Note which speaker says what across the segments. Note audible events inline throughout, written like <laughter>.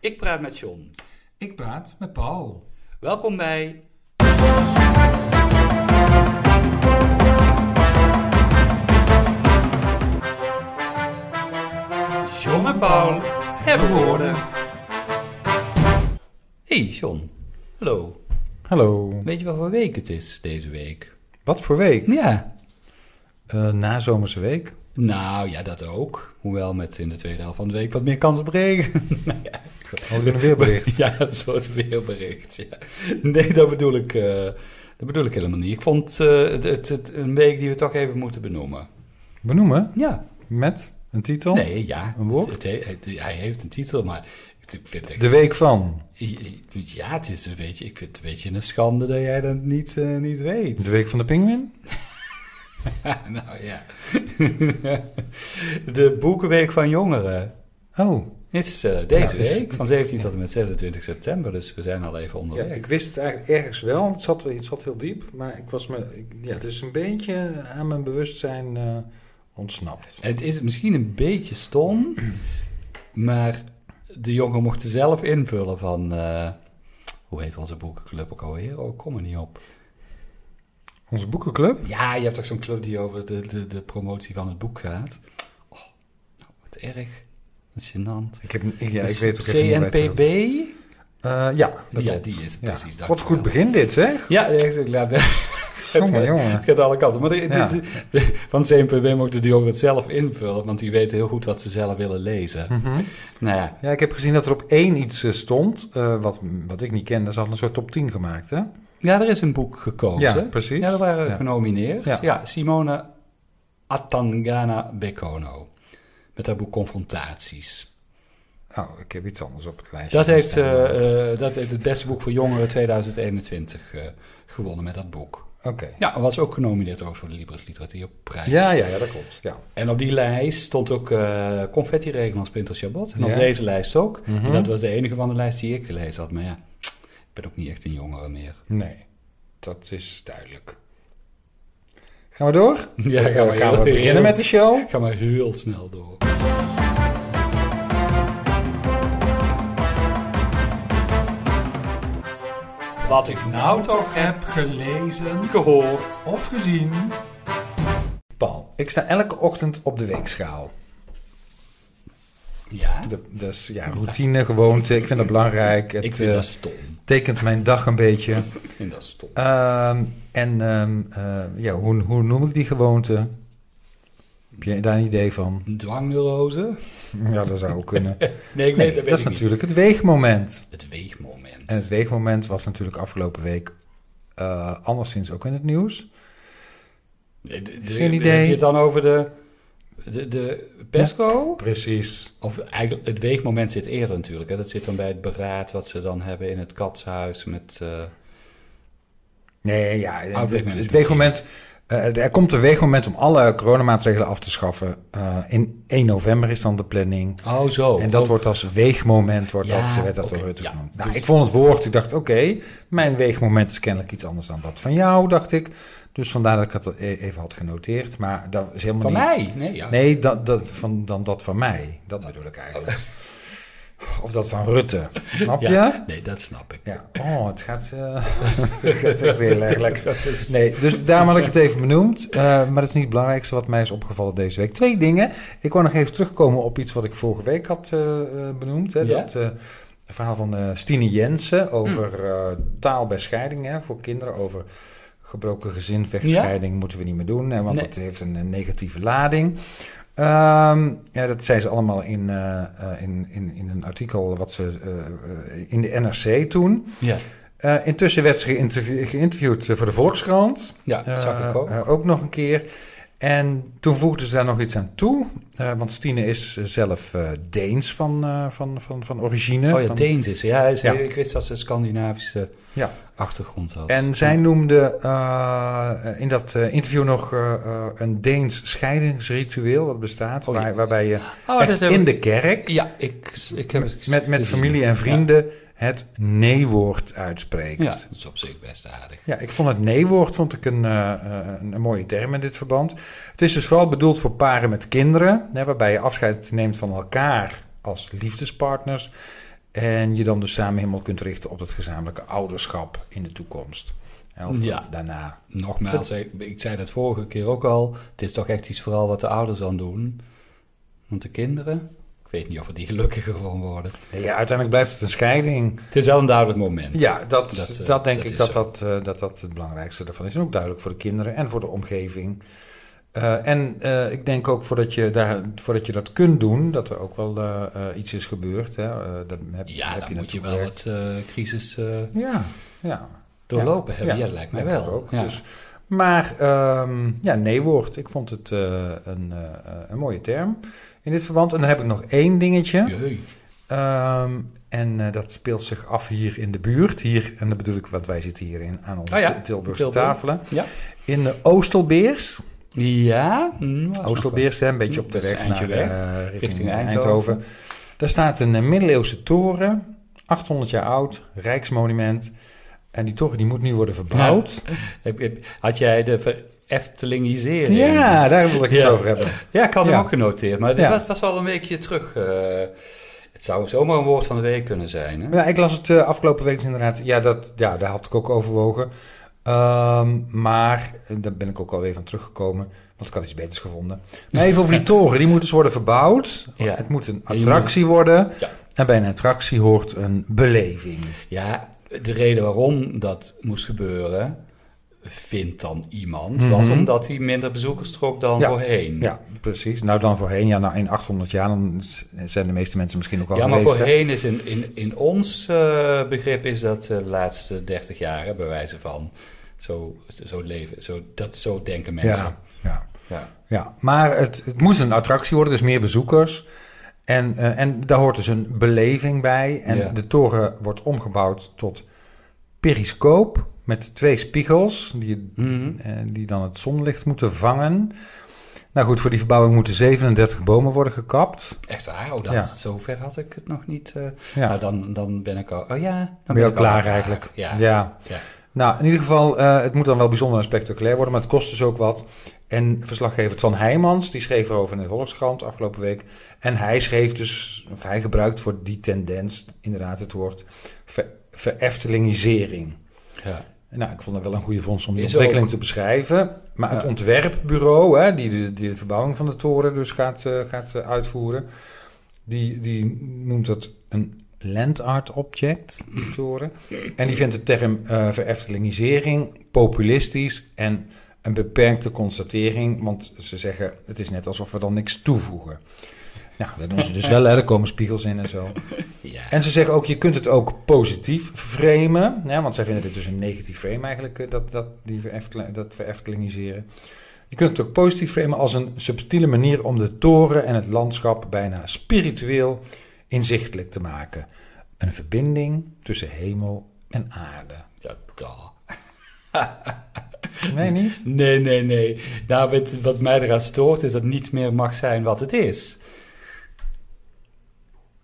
Speaker 1: Ik praat met John.
Speaker 2: Ik praat met Paul.
Speaker 1: Welkom bij. John en Paul hebben woorden. Hey John. Hallo.
Speaker 2: Hallo.
Speaker 1: Weet je wat voor week het is deze week?
Speaker 2: Wat voor week?
Speaker 1: Ja.
Speaker 2: Eh nazomerse week.
Speaker 1: Nou ja, dat ook. Hoewel met in de tweede helft van de week wat meer kans op regen. nou ja,
Speaker 2: Hadden we een
Speaker 1: <laughs>
Speaker 2: weerbericht.
Speaker 1: Ja, een soort weerbericht. Ja. Nee, dat bedoel, ik, eh, dat bedoel ik helemaal niet. Ik vond eh, het, het, het een week die we toch even moeten benoemen.
Speaker 2: Benoemen
Speaker 1: Ja.
Speaker 2: met een titel.
Speaker 1: Nee, ja.
Speaker 2: Een woord?
Speaker 1: Het- het- het- hij heeft een titel, maar ik vind het...
Speaker 2: De week van.
Speaker 1: Ja, het is een beetje, ik vind het een beetje een schande dat jij dat niet, eh, niet weet.
Speaker 2: De week van de pinguïn.
Speaker 1: <laughs> nou ja. de boekenweek van jongeren.
Speaker 2: Oh.
Speaker 1: Dit is eh, deze
Speaker 2: Ja, dus-
Speaker 1: week, van 17 tot en met 26 september. Dus we zijn al even
Speaker 2: Ja,
Speaker 1: onderweg.
Speaker 2: ik wist het eigenlijk ergens wel. Het zat, het zat heel diep. Maar ik was me, ik- ja, het is een beetje aan mijn bewustzijn eh, ontsnapt.
Speaker 1: Het is misschien een beetje stom, maar de jongen mocht er zelf invullen van... eh, hoe heet onze boekenclub ook alweer? Oh, ik kom er niet op.
Speaker 2: Onze boekenclub.
Speaker 1: Ja, je hebt toch zo'n club die over de, de, de promotie van het boek gaat? Oh, nou, wat erg. Dat is gênant.
Speaker 2: Ik, heb, ik- ja, ik
Speaker 1: Dus
Speaker 2: weet ook even niet waar het
Speaker 1: CNPB?
Speaker 2: over gaat. Eh, ja, dat
Speaker 1: Ja,
Speaker 2: klopt.
Speaker 1: die is precies
Speaker 2: ja.
Speaker 1: dat.
Speaker 2: Wat goed begin dit, zeg.
Speaker 1: Ja, die is- ik laat...
Speaker 2: Jongen, jongen.
Speaker 1: <laughs> Het <laughs> gaat alle kanten. Maar de, de-
Speaker 2: Ja.
Speaker 1: de- de- van CNPB mochten de jongeren het zelf invullen, want die weten heel goed wat ze zelf willen lezen.
Speaker 2: Mhm.
Speaker 1: Nou ja,
Speaker 2: Ja, ik heb gezien dat er op één iets eh, stond, eh, wat, wat ik niet kende. Ze hadden een soort top 10 gemaakt, hè?
Speaker 1: Ja, er is een boek gekozen.
Speaker 2: Ja, precies.
Speaker 1: Ja, er waren
Speaker 2: Ja.
Speaker 1: genomineerd. Ja.
Speaker 2: Ja.
Speaker 1: Simone Atangana Bekono. Met haar boek Confrontaties.
Speaker 2: Oh, ik heb iets anders op het lijstje.
Speaker 1: Dat heeft,
Speaker 2: staan.
Speaker 1: eh, eh, dat heeft het beste boek voor jongeren 2021 eh, gewonnen met dat boek.
Speaker 2: Oké.
Speaker 1: Ja, was ook genomineerd ook voor de Libris Literatuurprijs.
Speaker 2: Ja, ja, ja, dat klopt. Ja.
Speaker 1: En op die lijst stond ook eh Confetti Regen van Splinter Chabot. En op
Speaker 2: Ja.
Speaker 1: deze lijst ook.
Speaker 2: Mhm.
Speaker 1: En dat was de enige van de lijst die ik gelezen had. Maar ja, ik ben ook niet echt een jongere meer.
Speaker 2: Nee, dat is duidelijk. Gaan we door?
Speaker 1: Ja,
Speaker 2: Dan
Speaker 1: gaan we heel-
Speaker 2: we beginnen met de show.
Speaker 1: Ik ga maar heel snel door. Wat ik nou toch heb
Speaker 2: gelezen
Speaker 1: gehoord.
Speaker 2: of gezien. Paul, ik sta elke ochtend op de weekschaal.
Speaker 1: Ja,
Speaker 2: De- Dus ja, routine, gewoonte, ik vind dat belangrijk. Het
Speaker 1: ik vind
Speaker 2: eh,
Speaker 1: dat stom.
Speaker 2: tekent mijn dag een beetje.
Speaker 1: Ik vind dat stom.
Speaker 2: Ehm, en ehm, eh, ja, hoe, hoe noem ik die gewoonte? Heb je daar een idee van?
Speaker 1: Een dwangneurose?
Speaker 2: Ja, dat zou ook kunnen.
Speaker 1: Nee, <laughs> ik
Speaker 2: Nee,
Speaker 1: weet, dat
Speaker 2: dat,
Speaker 1: weet
Speaker 2: is
Speaker 1: ik niet.
Speaker 2: natuurlijk het weegmoment.
Speaker 1: Het weegmoment.
Speaker 2: En het weegmoment was natuurlijk afgelopen week eh anderszins ook in het nieuws.
Speaker 1: De- de-
Speaker 2: Geen idee.
Speaker 1: Heb je het dan over de, de, de PESCO?
Speaker 2: Precies.
Speaker 1: Of eigenlijk, het weegmoment zit eerder natuurlijk. Hè? Dat zit dan bij het beraad wat ze dan hebben in het katshuis met... eh,
Speaker 2: Nee,
Speaker 1: Oh,
Speaker 2: ja, het- het,
Speaker 1: weegmanagement.
Speaker 2: het weegmoment... eh, er komt een weegmoment om alle coronamaatregelen af te schaffen. Eh, in 1 november is dan de planning.
Speaker 1: Oh, zo.
Speaker 2: en dat
Speaker 1: Oh,
Speaker 2: wordt als weegmoment, wordt
Speaker 1: Ja,
Speaker 2: dat, werd dat door
Speaker 1: oké,
Speaker 2: Rutte
Speaker 1: ja.
Speaker 2: genoemd. Nou,
Speaker 1: Dus-
Speaker 2: ik vond het woord, ik dacht, oké, mijn weegmoment is kennelijk iets anders dan dat van jou, dacht ik. Dus vandaar dat ik dat e- even had genoteerd. Maar dat is helemaal
Speaker 1: Van
Speaker 2: niet...
Speaker 1: mij? Nee, ja.
Speaker 2: Nee, dat, dat, van, dan dat van mij. Dat bedoel ik eigenlijk. Of dat van Rutte. Snap je?
Speaker 1: Oh. Ja,
Speaker 2: Ja.
Speaker 1: Nee, dat snap
Speaker 2: <laughs>
Speaker 1: ik.
Speaker 2: Oh, het gaat, eh, het gaat echt heel erg
Speaker 1: <laughs>
Speaker 2: lekker.
Speaker 1: Dat is-
Speaker 2: <laughs> Nee, dus daarom had ik het even benoemd. Eh, maar dat is niet het belangrijkste wat mij is opgevallen deze week. Twee dingen. Ik wou nog even terugkomen op iets wat ik vorige week had eh, eh, benoemd. Hè,
Speaker 1: Ja?
Speaker 2: Dat eh, verhaal van eh, Stine Jensen over
Speaker 1: Mm.
Speaker 2: eh, taal bij scheiding hè, voor kinderen. Over gebroken gezin, vechtscheiding moeten we niet meer doen. Hè, want
Speaker 1: Nee.
Speaker 2: dat heeft een, eh, negatieve lading. Ehm, ja, dat zei ze allemaal in, eh, eh, in, in, in een artikel wat ze, eh, eh, in de NRC toen.
Speaker 1: Ja,
Speaker 2: Eh, intussen werd ze geïnterview- geïnterviewd eh, voor de Volkskrant.
Speaker 1: ja dat zag ik
Speaker 2: Eh,
Speaker 1: ook.
Speaker 2: eh, ook nog een keer. En toen voegde ze daar nog iets aan toe. Eh, want Stine is eh, zelf eh, Deens van, eh, van, van, van origine.
Speaker 1: oh ja,
Speaker 2: eh, Van-
Speaker 1: Deens is ze. ja, hij is-
Speaker 2: Ja.
Speaker 1: Ik wist dat ze een Scandinavische
Speaker 2: Ja.
Speaker 1: achtergrond had.
Speaker 2: En zij noemde eh, in dat eh, interview nog eh, eh, een Deens scheidingsritueel. Wat bestaat,
Speaker 1: Oh ja.
Speaker 2: waar- waarbij je
Speaker 1: oh,
Speaker 2: echt in de kerk
Speaker 1: Ja, ik, ik heb het
Speaker 2: met, met
Speaker 1: gezien.
Speaker 2: familie en vrienden het nee-woord uitspreekt.
Speaker 1: Ja. Ja, dat is op zich best aardig.
Speaker 2: Ja, ik vond het nee-woord vond ik een, eh, eh, een, een mooie term in dit verband. Het is dus vooral bedoeld voor paren met kinderen, hè, waarbij je afscheid neemt van elkaar als liefdespartners. En je dan dus samen helemaal kunt richten op dat gezamenlijke ouderschap in de toekomst. Hè, Of,
Speaker 1: Ja.
Speaker 2: of daarna.
Speaker 1: Nogmaals, ik, ik zei dat vorige keer ook al. Het is toch echt iets vooral wat de ouders aan doen. Want de kinderen, ik weet niet of we die gelukkiger van worden.
Speaker 2: Nee, ja, uiteindelijk blijft het een scheiding.
Speaker 1: Het is wel een duidelijk moment.
Speaker 2: Ja, dat, dat,
Speaker 1: Dat, eh,
Speaker 2: denk
Speaker 1: dat
Speaker 2: ik
Speaker 1: is
Speaker 2: dat
Speaker 1: zo.
Speaker 2: dat, eh, dat dat het belangrijkste daarvan is. En ook duidelijk voor de kinderen en voor de omgeving. Eh, en eh, ik denk ook voordat je, daar, voordat je dat kunt doen, dat er ook wel eh, eh, iets is gebeurd. Hè? Eh, daar heb,
Speaker 1: Ja,
Speaker 2: heb
Speaker 1: dan moet je
Speaker 2: naartoe
Speaker 1: wel
Speaker 2: gewerkt.
Speaker 1: wat eh, crisis eh,
Speaker 2: Ja, ja.
Speaker 1: doorlopen hebben. Ja,
Speaker 2: Ja,
Speaker 1: dat lijkt mij
Speaker 2: denk ik
Speaker 1: wel.
Speaker 2: ook.
Speaker 1: Ja.
Speaker 2: Dus, maar ehm, ja, nee-woord. Ik vond het eh, een, eh, eh, een mooie term in dit verband. En dan heb ik nog één dingetje.
Speaker 1: Jee.
Speaker 2: Ehm, en eh, dat speelt zich af hier in de buurt. Hier, en dat bedoel ik, want wij zitten hier in, aan onze
Speaker 1: Oh ja,
Speaker 2: Til- Tilburgse
Speaker 1: Tilburg.
Speaker 2: tafelen.
Speaker 1: Ja. Oh,
Speaker 2: In eh, de Oostelbeers.
Speaker 1: Ja?
Speaker 2: Mm,
Speaker 1: Nou, dat is nog wel-
Speaker 2: Oostelbeers, hè, een beetje op de
Speaker 1: Dat is
Speaker 2: weg
Speaker 1: een
Speaker 2: naar,
Speaker 1: eindje
Speaker 2: eh,
Speaker 1: weg,
Speaker 2: richting,
Speaker 1: richting
Speaker 2: Eindhoven.
Speaker 1: Eindhoven.
Speaker 2: Daar staat een eh, middeleeuwse toren, 800 jaar oud, rijksmonument. En die toren die moet nu worden verbouwd.
Speaker 1: Heb- heb- Had jij de ver- Eftelingisering?
Speaker 2: Ja, daar wil ik het
Speaker 1: Ja.
Speaker 2: over hebben.
Speaker 1: Ja, ik had hem
Speaker 2: Ja.
Speaker 1: ook genoteerd, maar dit
Speaker 2: Ja.
Speaker 1: was, was al een weekje terug. eh. het zou zomaar een woord van de week kunnen zijn. Hè?
Speaker 2: Ja, ik las het eh, afgelopen week inderdaad. Ja, dat, ja, daar had ik ook overwogen. Ehm, maar eh, daar ben ik ook alweer van teruggekomen. Want ik had iets beters
Speaker 1: <laughs>
Speaker 2: gevonden. Maar even over die toren. Die moet dus worden verbouwd.
Speaker 1: Ja.
Speaker 2: Het moet een
Speaker 1: En je
Speaker 2: attractie worden.
Speaker 1: Ja. Mm.
Speaker 2: En bij een attractie hoort een beleving.
Speaker 1: Ja, de reden waarom dat moest gebeuren, vindt dan iemand, was
Speaker 2: Mhm.
Speaker 1: omdat hij minder bezoekers trok dan
Speaker 2: Ja.
Speaker 1: voorheen.
Speaker 2: Ja, precies. Nou, dan voorheen. Ja, nou, in 800 jaar dan s- zijn de meeste mensen misschien ook al
Speaker 1: Ja, maar
Speaker 2: geweest, hè?
Speaker 1: voorheen is in, in, in ons eh, begrip is dat de laatste 30 jaar, hè, bij wijze van. Zo, zo leven, zo, dat, zo denken mensen.
Speaker 2: Ja, ja.
Speaker 1: Ja.
Speaker 2: Ja, maar het, het moest een attractie worden, dus meer bezoekers. En, eh, en daar hoort dus een beleving bij. En
Speaker 1: Ja.
Speaker 2: de toren wordt omgebouwd tot periscoop met twee spiegels die,
Speaker 1: Mhm.
Speaker 2: eh, die dan het zonlicht moeten vangen. Nou goed, voor die verbouwing moeten 37 bomen worden gekapt.
Speaker 1: Echt waar, oh, dat,
Speaker 2: Ja.
Speaker 1: zover had ik het nog niet. eh.
Speaker 2: Ja,
Speaker 1: Nou, dan, dan ben ik al... Oh ja, dan
Speaker 2: dan ben je
Speaker 1: ik
Speaker 2: al
Speaker 1: al
Speaker 2: klaar eigenlijk.
Speaker 1: Ja. Ja.
Speaker 2: Nou, in ieder geval, eh, het moet dan wel bijzonder en spectaculair worden, maar het kost dus ook wat. En verslaggever Twan Heijmans, die schreef erover in de Volkskrant afgelopen week. En hij schreef dus, of hij gebruikt voor die tendens inderdaad het woord ver, vereftelingisering.
Speaker 1: Ja.
Speaker 2: Nou, ik vond dat wel een goede vondst om die
Speaker 1: Is
Speaker 2: ontwikkeling te beschrijven. Maar het
Speaker 1: Ja.
Speaker 2: ontwerpbureau, hè, die, de, die de verbouwing van de toren dus gaat, eh, gaat eh, uitvoeren, die, die noemt dat een land art object, die toren. En die vindt de term eh vereftelingisering populistisch en een beperkte constatering. Want ze zeggen, het is net alsof we dan niks toevoegen. Nou, dat doen ze dus wel, hè. Er komen spiegels in en zo.
Speaker 1: Ja.
Speaker 2: En ze zeggen ook, je kunt het ook positief framen. Hè, want zij vinden dit dus een negatief frame eigenlijk, eh, dat, dat, die verefteling, dat vereftelingiseren. Je kunt het ook positief framen als een subtiele manier om de toren en het landschap bijna spiritueel inzichtelijk te maken. Een verbinding tussen hemel en aarde.
Speaker 1: Ja, da.
Speaker 2: Nee, niet?
Speaker 1: Nee, nee, nee. Nou, wat, wat mij eraan stoort is dat niets meer mag zijn wat het is.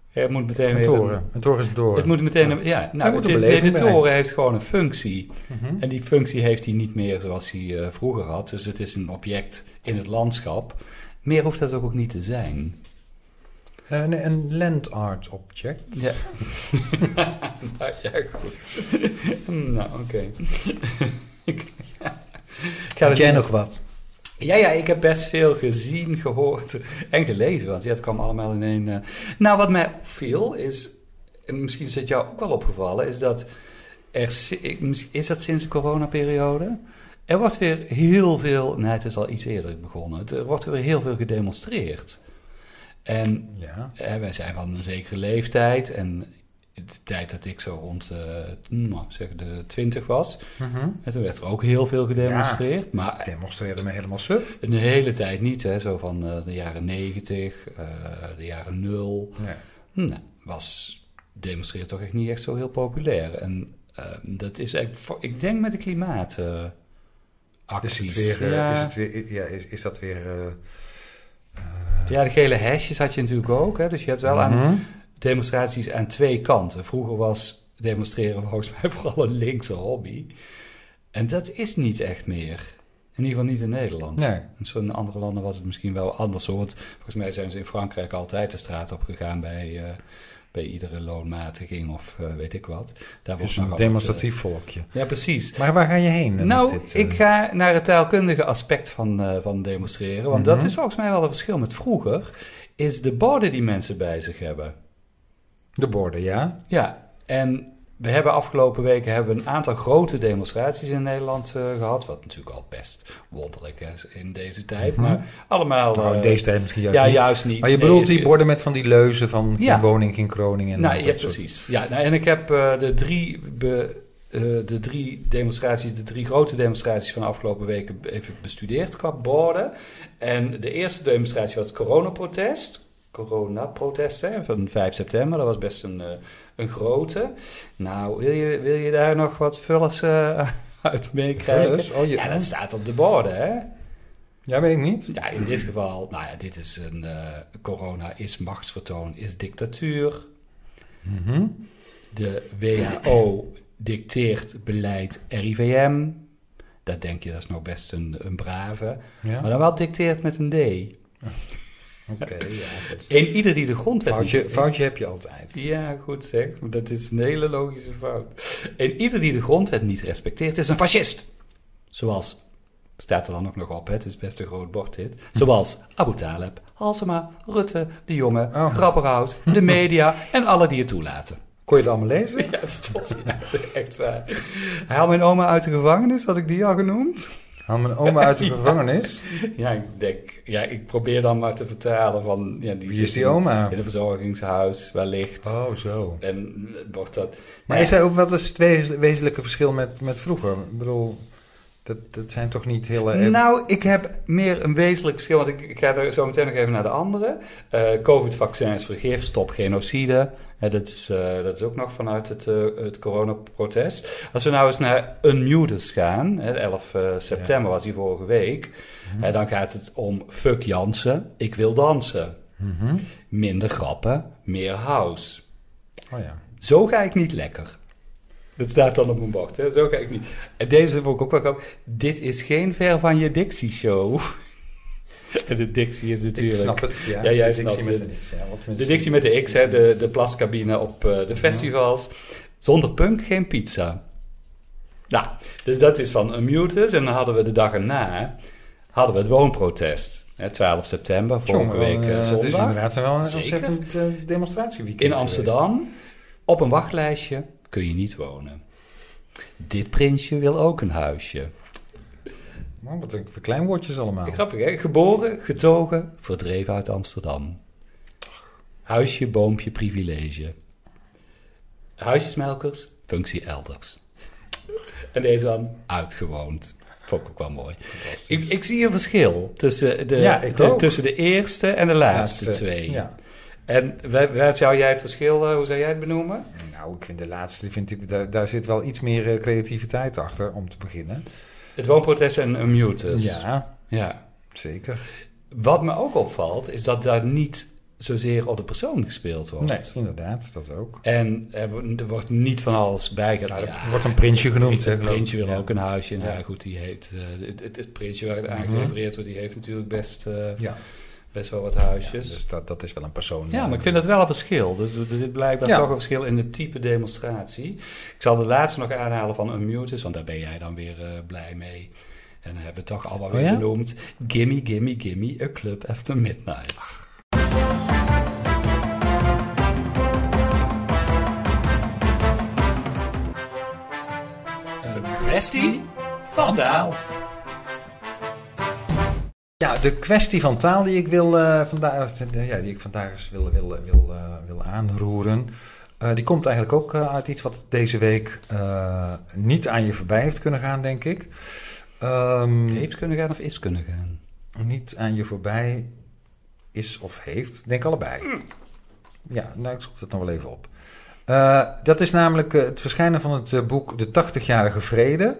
Speaker 1: Het moet meteen
Speaker 2: Een
Speaker 1: weer...
Speaker 2: toren. Een toren is een toren.
Speaker 1: Het moet meteen... een- Ja, nou,
Speaker 2: moet
Speaker 1: het
Speaker 2: een
Speaker 1: is- nee,
Speaker 2: beleving
Speaker 1: de
Speaker 2: bij.
Speaker 1: toren heeft gewoon een functie.
Speaker 2: Mhm.
Speaker 1: En die functie heeft hij niet meer zoals hij eh, vroeger had. Dus het is een object in het landschap. Meer hoeft dat ook ook niet te zijn.
Speaker 2: Eh, nee, een land art object.
Speaker 1: Ja. <laughs> nou ja, goed. <laughs> nou, oké. Ik- Ik ga
Speaker 2: Had
Speaker 1: dus
Speaker 2: jij
Speaker 1: niet-
Speaker 2: nog wat?
Speaker 1: Ja, ja, ik heb best veel gezien, gehoord en gelezen. Want ja, het kwam allemaal in één... eh. Nou, wat mij opviel is... en Misschien is het jou ook wel opgevallen... is dat er... si- ik- mis- Is dat sinds de coronaperiode? Er wordt weer heel veel... Nee, het is al iets eerder begonnen. Het- Er wordt weer heel veel gedemonstreerd. En
Speaker 2: Ja.
Speaker 1: eh, wij zijn van een zekere leeftijd. En de tijd dat ik zo rond de, nou, zeg, de 20 was...
Speaker 2: Mhm.
Speaker 1: En toen werd er ook heel veel gedemonstreerd. Maar
Speaker 2: Demonstreerde me helemaal suf.
Speaker 1: een hele tijd niet, hè? zo van eh, de jaren 90, eh, de jaren 0.
Speaker 2: Ja.
Speaker 1: Nou, was demonstreert toch echt niet echt zo heel populair. En eh, dat is eigenlijk, voor- ik denk met de klimaatacties. acties.
Speaker 2: Is het weer, eh,
Speaker 1: ja.
Speaker 2: is, het weer, ja, is, is dat weer... eh,
Speaker 1: ja, de gele hesjes had je natuurlijk ook. Hè? Dus je hebt wel aan
Speaker 2: Mhm.
Speaker 1: demonstraties aan twee kanten. Vroeger was demonstreren volgens mij <laughs> vooral een linkse hobby. En dat is niet echt meer. In ieder geval niet in Nederland.
Speaker 2: Nee.
Speaker 1: In zo'n andere landen was het misschien wel anders. Hoor. Want volgens mij zijn ze in Frankrijk altijd de straat op gegaan bij eh, bij iedere loonmatiging of eh, weet ik wat. Daar
Speaker 2: Dus
Speaker 1: wordt
Speaker 2: een
Speaker 1: nogal wat,
Speaker 2: demonstratief volkje.
Speaker 1: eh, ja, precies.
Speaker 2: Maar waar ga je heen? eh,
Speaker 1: Nou,
Speaker 2: met dit, eh?
Speaker 1: ik ga naar het taalkundige aspect van, eh, van demonstreren. Want dat
Speaker 2: Mhm.
Speaker 1: is volgens mij wel een verschil met vroeger. Is de borden die mensen bij zich hebben.
Speaker 2: De borden, ja.
Speaker 1: Ja, en we hebben afgelopen weken hebben we een aantal grote demonstraties in Nederland eh, gehad. Wat natuurlijk al best wonderlijk is in deze tijd.
Speaker 2: Mhm.
Speaker 1: Maar allemaal...
Speaker 2: Nou, in
Speaker 1: eh,
Speaker 2: deze tijd misschien juist
Speaker 1: ja,
Speaker 2: niet.
Speaker 1: juist niet.
Speaker 2: Maar je
Speaker 1: Nee,
Speaker 2: bedoelt
Speaker 1: het-
Speaker 2: die
Speaker 1: het-
Speaker 2: borden met van die leuzen van geen
Speaker 1: Ja.
Speaker 2: woning, geen Groningen. en
Speaker 1: Nou,
Speaker 2: dat
Speaker 1: ja,
Speaker 2: soort-
Speaker 1: precies. Ja, nou, en ik heb eh, de, drie be- eh, de drie demonstraties, de drie grote demonstraties van de afgelopen weken even bestudeerd qua borden. En de eerste demonstratie was het coronaprotest. Coronaprotest hè, van 5 september, dat was best een, eh, een grote. Nou, wil je, wil je daar nog wat vullers eh, <laughs> uit meekrijgen?
Speaker 2: Vullers? Oh, je-
Speaker 1: Ja,
Speaker 2: ja,
Speaker 1: dat staat op de borden, hè?
Speaker 2: weet ik niet.
Speaker 1: Ja, in dit geval, nou ja, dit is een... eh, corona is machtsvertoon, is dictatuur.
Speaker 2: Mhm.
Speaker 1: De WHO dicteert beleid RIVM. Dat denk je, dat is nou best een, een brave.
Speaker 2: Ja,
Speaker 1: Maar dan wel dicteert met een D.
Speaker 2: oké. ja,
Speaker 1: <laughs>
Speaker 2: dat-
Speaker 1: En ieder die de grondwet... niet-
Speaker 2: foutje, foutje heb je altijd.
Speaker 1: Ja, goed zeg. Dat is een hele logische fout. En ieder die de grondwet niet respecteert, is een fascist. Zoals, staat er dan ook nog op, hè? het is best een groot bord dit. Zoals Abu Taleb, Halsema, Rutte, De Jonge,
Speaker 2: Oh.
Speaker 1: Grapperhaus, de media en alle die het toelaten.
Speaker 2: Kon je dat allemaal lezen?
Speaker 1: <laughs> Ja, het stond ja, <laughs> echt waar. Haal mijn oma uit de gevangenis, had ik die al genoemd?
Speaker 2: Haal mijn oma uit de gevangenis.
Speaker 1: Ja, ik denk, ja, ik probeer dan maar te vertalen van... Ja, die
Speaker 2: Wie
Speaker 1: zit
Speaker 2: is die
Speaker 1: in-
Speaker 2: oma?
Speaker 1: In een verzorgingshuis, wellicht.
Speaker 2: Oh, zo.
Speaker 1: En wordt dat...
Speaker 2: Maar
Speaker 1: Ja,
Speaker 2: is er ook wat is het wez- wezenlijke verschil met, met vroeger? Ik bedoel, dat, dat zijn toch niet hele... eh,
Speaker 1: Nou, ik heb meer een wezenlijk verschil, want ik, ik ga er zo meteen nog even naar de andere. Eh, Covid-vaccins vergif, stop genocide. Hè, dat, is, eh, dat is ook nog vanuit het, eh, het coronaprotest. Als we nou eens naar Unmuted gaan, hè, 11 eh, september was die vorige week. Hè, dan gaat het om fuck Jansen, ik wil dansen.
Speaker 2: mhm.
Speaker 1: Minder grappen, meer house.
Speaker 2: Oh ja.
Speaker 1: Zo ga ik niet lekker. Dat staat dan op mijn bord, hè? Zo ga ik niet. En deze vond ik ook wel grappig. Dit is geen ver van je Dixie-show. En <laughs> de Dixie is natuurlijk...
Speaker 2: Ik snap het. Ja,
Speaker 1: Ja, jij
Speaker 2: de dictie
Speaker 1: snapt
Speaker 2: met
Speaker 1: het.
Speaker 2: een X, ja, of
Speaker 1: De Dixie met de X, hè? De, de plascabine op eh, de festivals. Zonder punk geen pizza. Nou, dus dat is van Unmutus. En dan hadden we de dag erna... hadden we het woonprotest. Hè, 12 september, vorige
Speaker 2: Jongen,
Speaker 1: week
Speaker 2: eh,
Speaker 1: eh,
Speaker 2: Het is
Speaker 1: zondag.
Speaker 2: inderdaad wel een
Speaker 1: Zeker.
Speaker 2: ontzettend eh, demonstratieweekend
Speaker 1: In
Speaker 2: geweest.
Speaker 1: Amsterdam, op een wachtlijstje, kun je niet wonen. Dit prinsje wil ook een huisje.
Speaker 2: Man, Oh, wat een verkleinwoordjes allemaal.
Speaker 1: Grappig, hè? Geboren, getogen, verdreven uit Amsterdam. Huisje, boompje, privilege. Huisjesmelkers, functie elders. En deze dan uitgewoond. Vond ik ook wel mooi. Ik, ik zie een verschil tussen de,
Speaker 2: Ja, ik
Speaker 1: de-
Speaker 2: ook.
Speaker 1: tussen de eerste en de laatste, twee.
Speaker 2: Ja.
Speaker 1: En wa- waar zou jij het verschil, eh, hoe zou jij het benoemen?
Speaker 2: Nou, ik vind de laatste, vind ik, daar, daar zit wel iets meer eh, creativiteit achter om te beginnen.
Speaker 1: Het woonprotest en een mutus.
Speaker 2: Ja,
Speaker 1: ja.
Speaker 2: zeker.
Speaker 1: Wat me ook opvalt, is dat daar niet zozeer op de persoon gespeeld wordt.
Speaker 2: Nee, inderdaad, dat ook.
Speaker 1: En er, wo- er wordt niet van alles bijgezet.
Speaker 2: Nou,
Speaker 1: Ja,
Speaker 2: er wordt een prinsje genoemd, hè?
Speaker 1: Het
Speaker 2: geloof
Speaker 1: printje
Speaker 2: ik.
Speaker 1: wil
Speaker 2: Ja.
Speaker 1: ook een huisje. Nou
Speaker 2: Ja. Mhm.
Speaker 1: goed, die heeft, eh, het, het, het printje waar aan gerefereerd wordt, die heeft natuurlijk best, eh,
Speaker 2: Ja,
Speaker 1: best wel wat
Speaker 2: ja,
Speaker 1: huisjes. Ja,
Speaker 2: dus dat, dat is wel een persoon. eh,
Speaker 1: maar ik vind dat wel een verschil. Dus er zit blijkbaar
Speaker 2: Ja.
Speaker 1: toch een verschil in het type demonstratie. Ik zal de laatste nog aanhalen van Unmuted, want daar ben jij dan weer eh, blij mee. En dan hebben we toch allemaal
Speaker 2: Oh
Speaker 1: weer
Speaker 2: ja?
Speaker 1: genoemd. Gimme, gimme, gimme, a club after midnight. Een kwestie van taal.
Speaker 2: Ja, de kwestie van taal die ik, wil, eh, vandaag, of, eh, ja, die ik vandaag eens wil, wil, wil, eh, wil aanroeren, eh, die komt eigenlijk ook eh, uit iets wat deze week eh, niet aan je voorbij heeft kunnen gaan, denk ik. Ehm,
Speaker 1: Heeft kunnen gaan of is kunnen gaan?
Speaker 2: Niet aan je voorbij is of heeft, denk allebei.
Speaker 1: Mm.
Speaker 2: Ja, nou, ik zoek dat nog wel even op. Eh, dat is namelijk eh, het verschijnen van het eh, boek De 80-jarige Vrede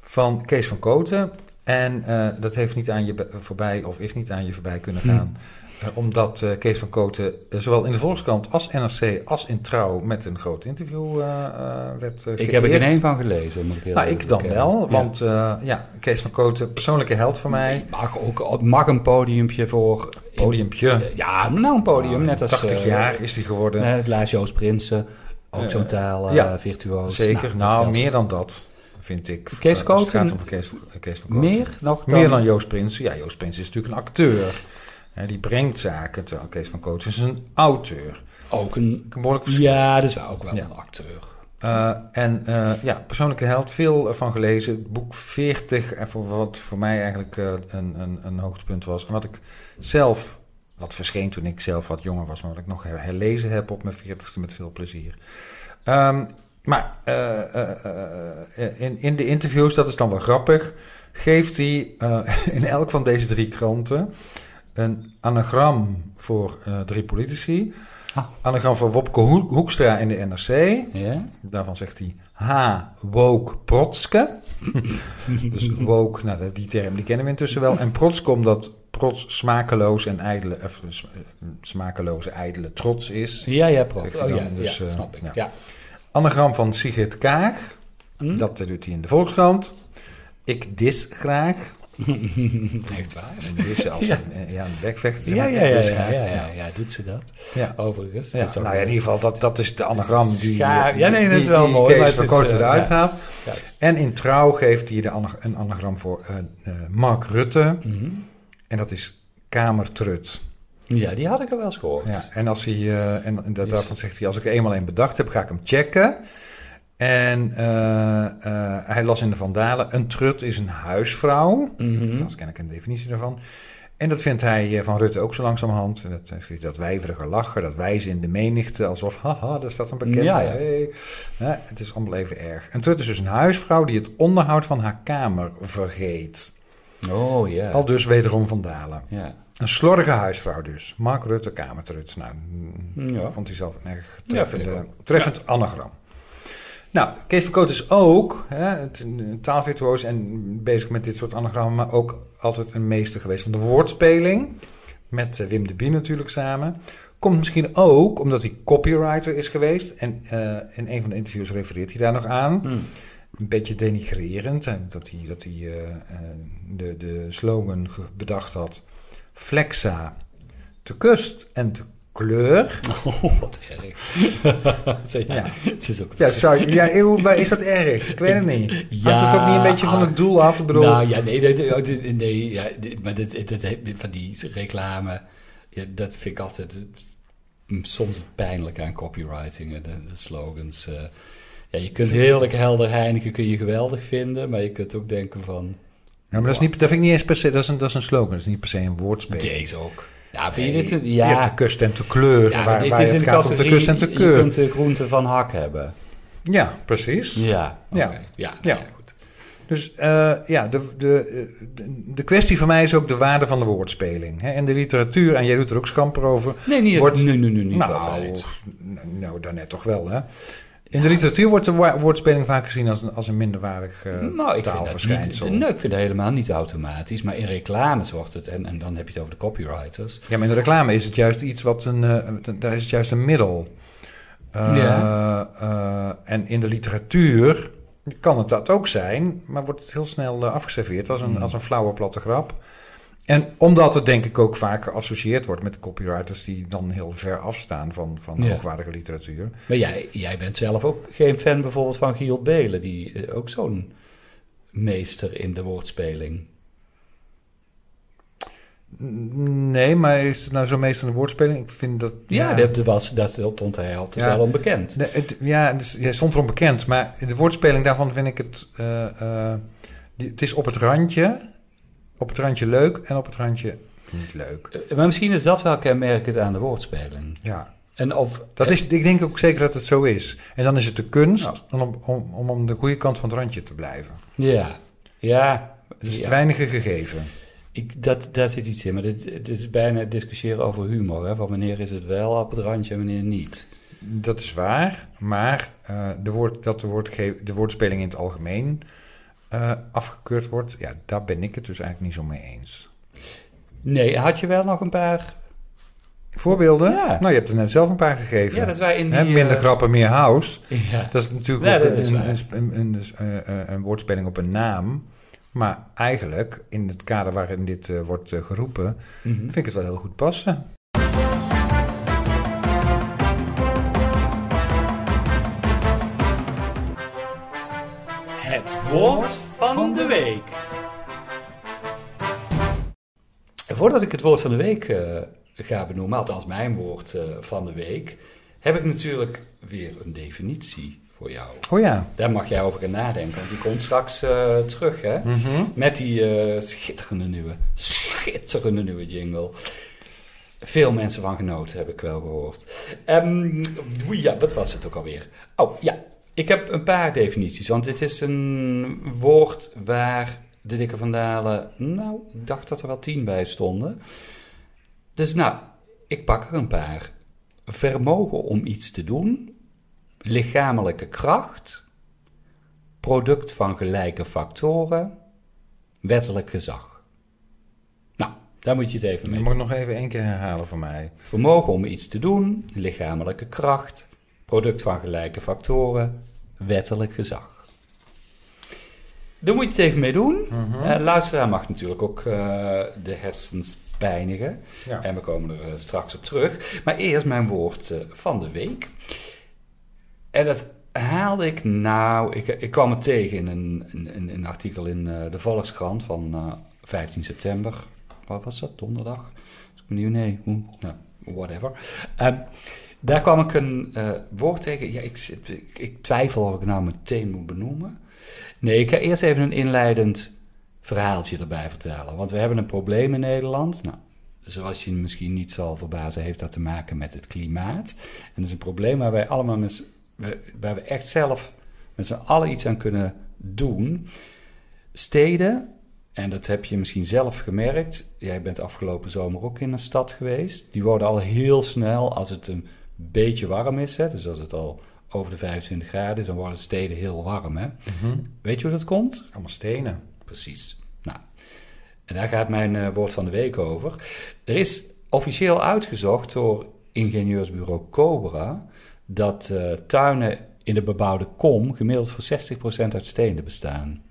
Speaker 2: van Kees van Koten. En eh, dat heeft niet aan je be- voorbij of is niet aan je voorbij kunnen
Speaker 1: Hm.
Speaker 2: gaan. Eh, omdat eh, Kees van Koten eh, zowel in de Volkskrant als NRC als in Trouw met een groot interview eh, eh, werd eh,
Speaker 1: Ik heb er geen
Speaker 2: geëerd.
Speaker 1: één van gelezen. Moet ik heel
Speaker 2: Nou,
Speaker 1: eerlijk
Speaker 2: ik dan
Speaker 1: bekennen.
Speaker 2: wel,
Speaker 1: Ja. Hm.
Speaker 2: want eh, ja, Kees van Koten, persoonlijke held voor mij.
Speaker 1: Mag ook mag een podiumpje voor
Speaker 2: Podiumpje.
Speaker 1: Ja, nou een podium, net als...
Speaker 2: 80
Speaker 1: eh,
Speaker 2: Ah, jaar is die geworden.
Speaker 1: eh, het laatst Joost Prinsen, ook
Speaker 2: Eh,
Speaker 1: zo'n taal, eh,
Speaker 2: ja,
Speaker 1: virtuoos.
Speaker 2: Zeker.
Speaker 1: dat
Speaker 2: Nou,
Speaker 1: geldt.
Speaker 2: meer dan dat, vind ik.
Speaker 1: Kees
Speaker 2: Eh, als het
Speaker 1: Koten-
Speaker 2: gaat om Kees, Kees van Koten.
Speaker 1: Meer nog dan...
Speaker 2: Meer dan Joost Prinsen. Ja, Joost Prinsen is natuurlijk een acteur. Hè, die brengt zaken, terwijl Kees van Koten is een auteur.
Speaker 1: Ook een...
Speaker 2: Ik een behoorlijk verschil.
Speaker 1: Ja, dat is ook wel
Speaker 2: Ja.
Speaker 1: een acteur.
Speaker 2: Eh, en eh, ja, persoonlijke held, veel eh, van gelezen. Het boek 40, en voor, wat voor mij eigenlijk eh, een, een, een hoogtepunt was. En wat ik zelf, wat verscheen toen ik zelf wat jonger was, maar wat ik nog her- herlezen heb op mijn 40ste met veel plezier. Ehm, maar eh, eh, eh, in, in de interviews, dat is dan wel grappig, geeft hij eh, <laughs> in elk van deze drie kranten een anagram voor eh, drie politici.
Speaker 1: Ah.
Speaker 2: Anagram van Wopke Hoek- Hoekstra in de NRC.
Speaker 1: Ja?
Speaker 2: Daarvan zegt hij H. Woke
Speaker 1: <laughs>
Speaker 2: Protske. dus woke, nou, dat- die term die kennen we intussen wel. En Protske omdat Prots smakeloos en ijdele, of, eh, sm- eh, smakeloze ijdele trots is.
Speaker 1: Ja, ja, prachtig.
Speaker 2: Zegt hij
Speaker 1: Oh,
Speaker 2: dan,
Speaker 1: ja,
Speaker 2: dus,
Speaker 1: ja,
Speaker 2: eh,
Speaker 1: snap ik.
Speaker 2: ja.
Speaker 1: Ja. <laughs>
Speaker 2: Anagram van Sigrid Kaag.
Speaker 1: Hm?
Speaker 2: Dat eh, doet hij in de Volkskrant. Ik dis graag.
Speaker 1: Echt waar.
Speaker 2: En
Speaker 1: <laughs>
Speaker 2: dis als
Speaker 1: Ja.
Speaker 2: een, eh, ja, een bekvechter.
Speaker 1: Ja
Speaker 2: maar
Speaker 1: ja
Speaker 2: ik
Speaker 1: ja,
Speaker 2: dis
Speaker 1: ja,
Speaker 2: graag.
Speaker 1: ja, ja, ja, doet ze dat?
Speaker 2: Ja.
Speaker 1: Overigens.
Speaker 2: Ja,
Speaker 1: dat is ook
Speaker 2: nou ja, in
Speaker 1: wel-
Speaker 2: ieder geval, dat, dat is de anagram die,
Speaker 1: Ja, ja, nee, dat
Speaker 2: die-
Speaker 1: is wel
Speaker 2: die
Speaker 1: mooi,
Speaker 2: Kees
Speaker 1: maar het
Speaker 2: van
Speaker 1: is,
Speaker 2: Kooten
Speaker 1: eh,
Speaker 2: eruit
Speaker 1: ja.
Speaker 2: haalt.
Speaker 1: Ja, het is-
Speaker 2: En in Trouw geeft hij de ana- een anagram voor eh, eh, Mark Rutte.
Speaker 1: Mhm.
Speaker 2: En dat is Kamertrut.
Speaker 1: Ja, die had ik al wel eens gehoord.
Speaker 2: Ja, en als hij, eh, en, en dat-
Speaker 1: Is-
Speaker 2: daarvan zegt hij, als ik er eenmaal een bedacht heb, ga ik hem checken. En eh, eh, hij las in de Vandalen, een trut is een huisvrouw.
Speaker 1: Mhm.
Speaker 2: Dat ken Dus ik een definitie daarvan. En dat vindt hij eh, van Rutte ook zo langzamerhand. En dat, eh, vindt hij dat wijverige lachen, dat wijzen in de menigte, alsof, haha, daar staat een bekende.
Speaker 1: Ja, ja.
Speaker 2: Hey. Ja, het is allemaal even erg. Een trut is dus een huisvrouw die het onderhoud van haar kamer vergeet.
Speaker 1: Oh ja.
Speaker 2: Al dus wederom Vandalen.
Speaker 1: Ja.
Speaker 2: Een slordige huisvrouw dus. Mark Rutte, Kamertrut. Nou, mm,
Speaker 1: Ja.
Speaker 2: vond hij zelf een erg
Speaker 1: Ja, vind ik
Speaker 2: treffende-
Speaker 1: ook.
Speaker 2: treffend anagram. Nou, Kees van Koot is ook hè, het- een taalvirtuoos en bezig met dit soort anagrammen... maar ook altijd een meester geweest van de woordspeling. Met eh, Wim de Bie natuurlijk samen. Komt misschien ook omdat hij copywriter is geweest. En eh, in een van de interviews refereert hij daar nog aan
Speaker 1: Hm.
Speaker 2: een beetje denigrerend. En dat hij, dat hij eh, eh, de, de slogan ge- bedacht had. Flexa, te kust en te kleur.
Speaker 1: <laughs> Oh, wat <laughs> erg. ja,
Speaker 2: Ja.
Speaker 1: Het is ook
Speaker 2: Ja, zou, <laughs> je- ja eeuw, maar is dat erg? Ik weet het niet. Hangt het ook niet een beetje van het doel af? Ik bedoel,
Speaker 1: Nou ja, nee, nee, nee, nee, nee, ja, dit- maar dit, dit, dit- van die reclame, ja, dat vind ik altijd eh, soms pijnlijk aan copywriting en de, de slogans. eh. ja, je kunt heerlijk helder Heineken kun je geweldig vinden, maar je kunt ook denken van
Speaker 2: Ja, maar dat, is niet, dat vind ik niet eens per se, dat is een, dat is een slogan. Dat is niet per se een woordspeling.
Speaker 1: deze ook. Ja, vind je
Speaker 2: Nee,
Speaker 1: dit? een-
Speaker 2: Je hebt
Speaker 1: Ja,
Speaker 2: te kust en te kleur.
Speaker 1: ja, maar
Speaker 2: waar,
Speaker 1: dit
Speaker 2: waar
Speaker 1: is
Speaker 2: het
Speaker 1: een
Speaker 2: gaat om te
Speaker 1: categorie,
Speaker 2: kust en te
Speaker 1: je
Speaker 2: keur.
Speaker 1: kunt de groente van hak hebben.
Speaker 2: Ja, precies.
Speaker 1: Ja,
Speaker 2: Ja.
Speaker 1: oké. ja, ja.
Speaker 2: Ja.
Speaker 1: goed.
Speaker 2: Dus eh, ja, de, de, eh, de, de kwestie voor mij is ook de waarde van de woordspeling. Hè? En de literatuur, en jij doet er ook schamper over.
Speaker 1: Nee, niet,
Speaker 2: Wordt-
Speaker 1: nu, nu, nu, niet
Speaker 2: nou,
Speaker 1: altijd.
Speaker 2: n- nou, daarnet toch wel, hè? In de literatuur wordt de wa- woordspeling vaak gezien als een, als een minderwaardig eh
Speaker 1: Nou, ik vind, dat niet,
Speaker 2: taalverschijnsel.
Speaker 1: nee, ik vind dat helemaal niet automatisch, maar in reclames wordt het, en, en dan heb je het over de copywriters.
Speaker 2: Ja, maar in de reclame is het juist iets wat een... eh, d- daar is het juist een middel. Eh,
Speaker 1: Ja.
Speaker 2: eh, en in de literatuur kan het dat ook zijn... maar wordt het heel snel eh, afgeserveerd als een,
Speaker 1: Hmm.
Speaker 2: als een flauwe platte grap. En omdat het denk ik ook vaak geassocieerd wordt met copywriters... die dan heel ver afstaan van, van
Speaker 1: Ja.
Speaker 2: hoogwaardige literatuur.
Speaker 1: Maar jij, jij bent zelf ook geen fan bijvoorbeeld van Giel Belen, die eh, ook zo'n meester in de woordspeling.
Speaker 2: N- Nee, maar is het nou zo meestal een woordspeling? Ik vind dat...
Speaker 1: Ja, Dat, was, dat stond hij altijd
Speaker 2: Ja.
Speaker 1: wel onbekend.
Speaker 2: Nee, het- ja, dus, ja, soms onbekend, maar de woordspeling daarvan vind ik het. eh, eh, die- het is op het randje. Op het randje leuk en op het randje niet leuk.
Speaker 1: Eh, Maar misschien is dat wel kenmerkend aan de woordspeling.
Speaker 2: Ja,
Speaker 1: En of,
Speaker 2: dat is, ik denk ook zeker dat het zo is. En dan is het de kunst
Speaker 1: Ja.
Speaker 2: om, om, om aan de goede kant van het randje te blijven.
Speaker 1: Ja, ja.
Speaker 2: Dus
Speaker 1: ja.
Speaker 2: het weinige gegeven.
Speaker 1: Ik, dat, daar zit iets in, maar dit, het is bijna het discussiëren over humor. Hè? Van wanneer is het wel op het randje en wanneer niet.
Speaker 2: Dat is waar, maar eh, de woord, dat de, woordge- de woordspeling in het algemeen eh, afgekeurd wordt, ja, daar ben ik het dus eigenlijk niet zo mee eens.
Speaker 1: Nee, had je wel nog een paar...
Speaker 2: Voorbeelden?
Speaker 1: Ja.
Speaker 2: Nou, je hebt er net zelf een paar gegeven.
Speaker 1: Ja, dat wij in die...
Speaker 2: Hè, minder
Speaker 1: eh,
Speaker 2: grappen, meer house.
Speaker 1: ja.
Speaker 2: Dat is natuurlijk
Speaker 1: Ja,
Speaker 2: ook
Speaker 1: dat is
Speaker 2: een,
Speaker 1: waar.
Speaker 2: een, een, een- een- een woordspeling op een naam. Maar eigenlijk, in het kader waarin dit eh, wordt eh, geroepen,
Speaker 1: Mhm.
Speaker 2: vind ik het wel heel goed passen.
Speaker 1: Het woord van de week. Voordat ik het woord van de week eh, ga benoemen, althans mijn woord eh, van de week, heb ik natuurlijk weer een definitie voor jou.
Speaker 2: Oh ja.
Speaker 1: Daar mag jij over gaan nadenken, want die komt straks eh, terug, hè? Met die eh, schitterende nieuwe, schitterende nieuwe jingle. Veel mensen van genoten, heb ik wel gehoord. Ehm, ja, wat was het ook alweer? Oh ja, ik heb een paar definities. Want dit is een woord waar de dikke vandalen. Nou, ik dacht dat er wel tien bij stonden. Dus nou, ik pak er een paar. Vermogen om iets te doen. Lichamelijke kracht. Product van gelijke factoren. Wettelijk gezag. Nou, daar moet je het even
Speaker 2: Je
Speaker 1: mee
Speaker 2: mag ik nog even één keer herhalen voor mij.
Speaker 1: Vermogen om iets te doen, lichamelijke kracht, product van gelijke factoren, wettelijk gezag. Daar moet je het even mee doen. Eh, luisteraar mag natuurlijk ook eh, de hersens pijnigen.
Speaker 2: Ja.
Speaker 1: En we komen er eh, straks op terug. Maar eerst mijn woord eh, van de week. En dat haalde ik nou... Ik, ik kwam het tegen in een, een, een artikel in eh, de Volkskrant van eh, 15 september. Wat was dat? Donderdag? Dus ik benieuwd, nee, hoe? Nou, whatever. Ehm, daar kwam ik een eh, woord tegen. Ja, ik, zit- ik, ik twijfel of ik het nou meteen moet benoemen. Nee, ik ga eerst even een inleidend verhaaltje erbij vertellen. Want we hebben een probleem in Nederland. Nou, zoals je misschien niet zal verbazen, heeft dat te maken met het klimaat. En dat is een probleem waar wij allemaal met, z'n- waar- waar we echt zelf met z'n allen iets aan kunnen doen. Steden, en dat heb je misschien zelf gemerkt. Jij bent afgelopen zomer ook in een stad geweest. Die worden al heel snel, als het een beetje warm is, hè, dus als het al over de 25 graden is, dan worden steden heel warm. Hè? Weet je hoe dat komt?
Speaker 2: Mhm. Allemaal stenen.
Speaker 1: Precies. Nou, en daar gaat mijn eh, woord van de week over. Er is officieel uitgezocht door ingenieursbureau Cobra dat eh, tuinen in de bebouwde kom gemiddeld voor 60% uit stenen bestaan.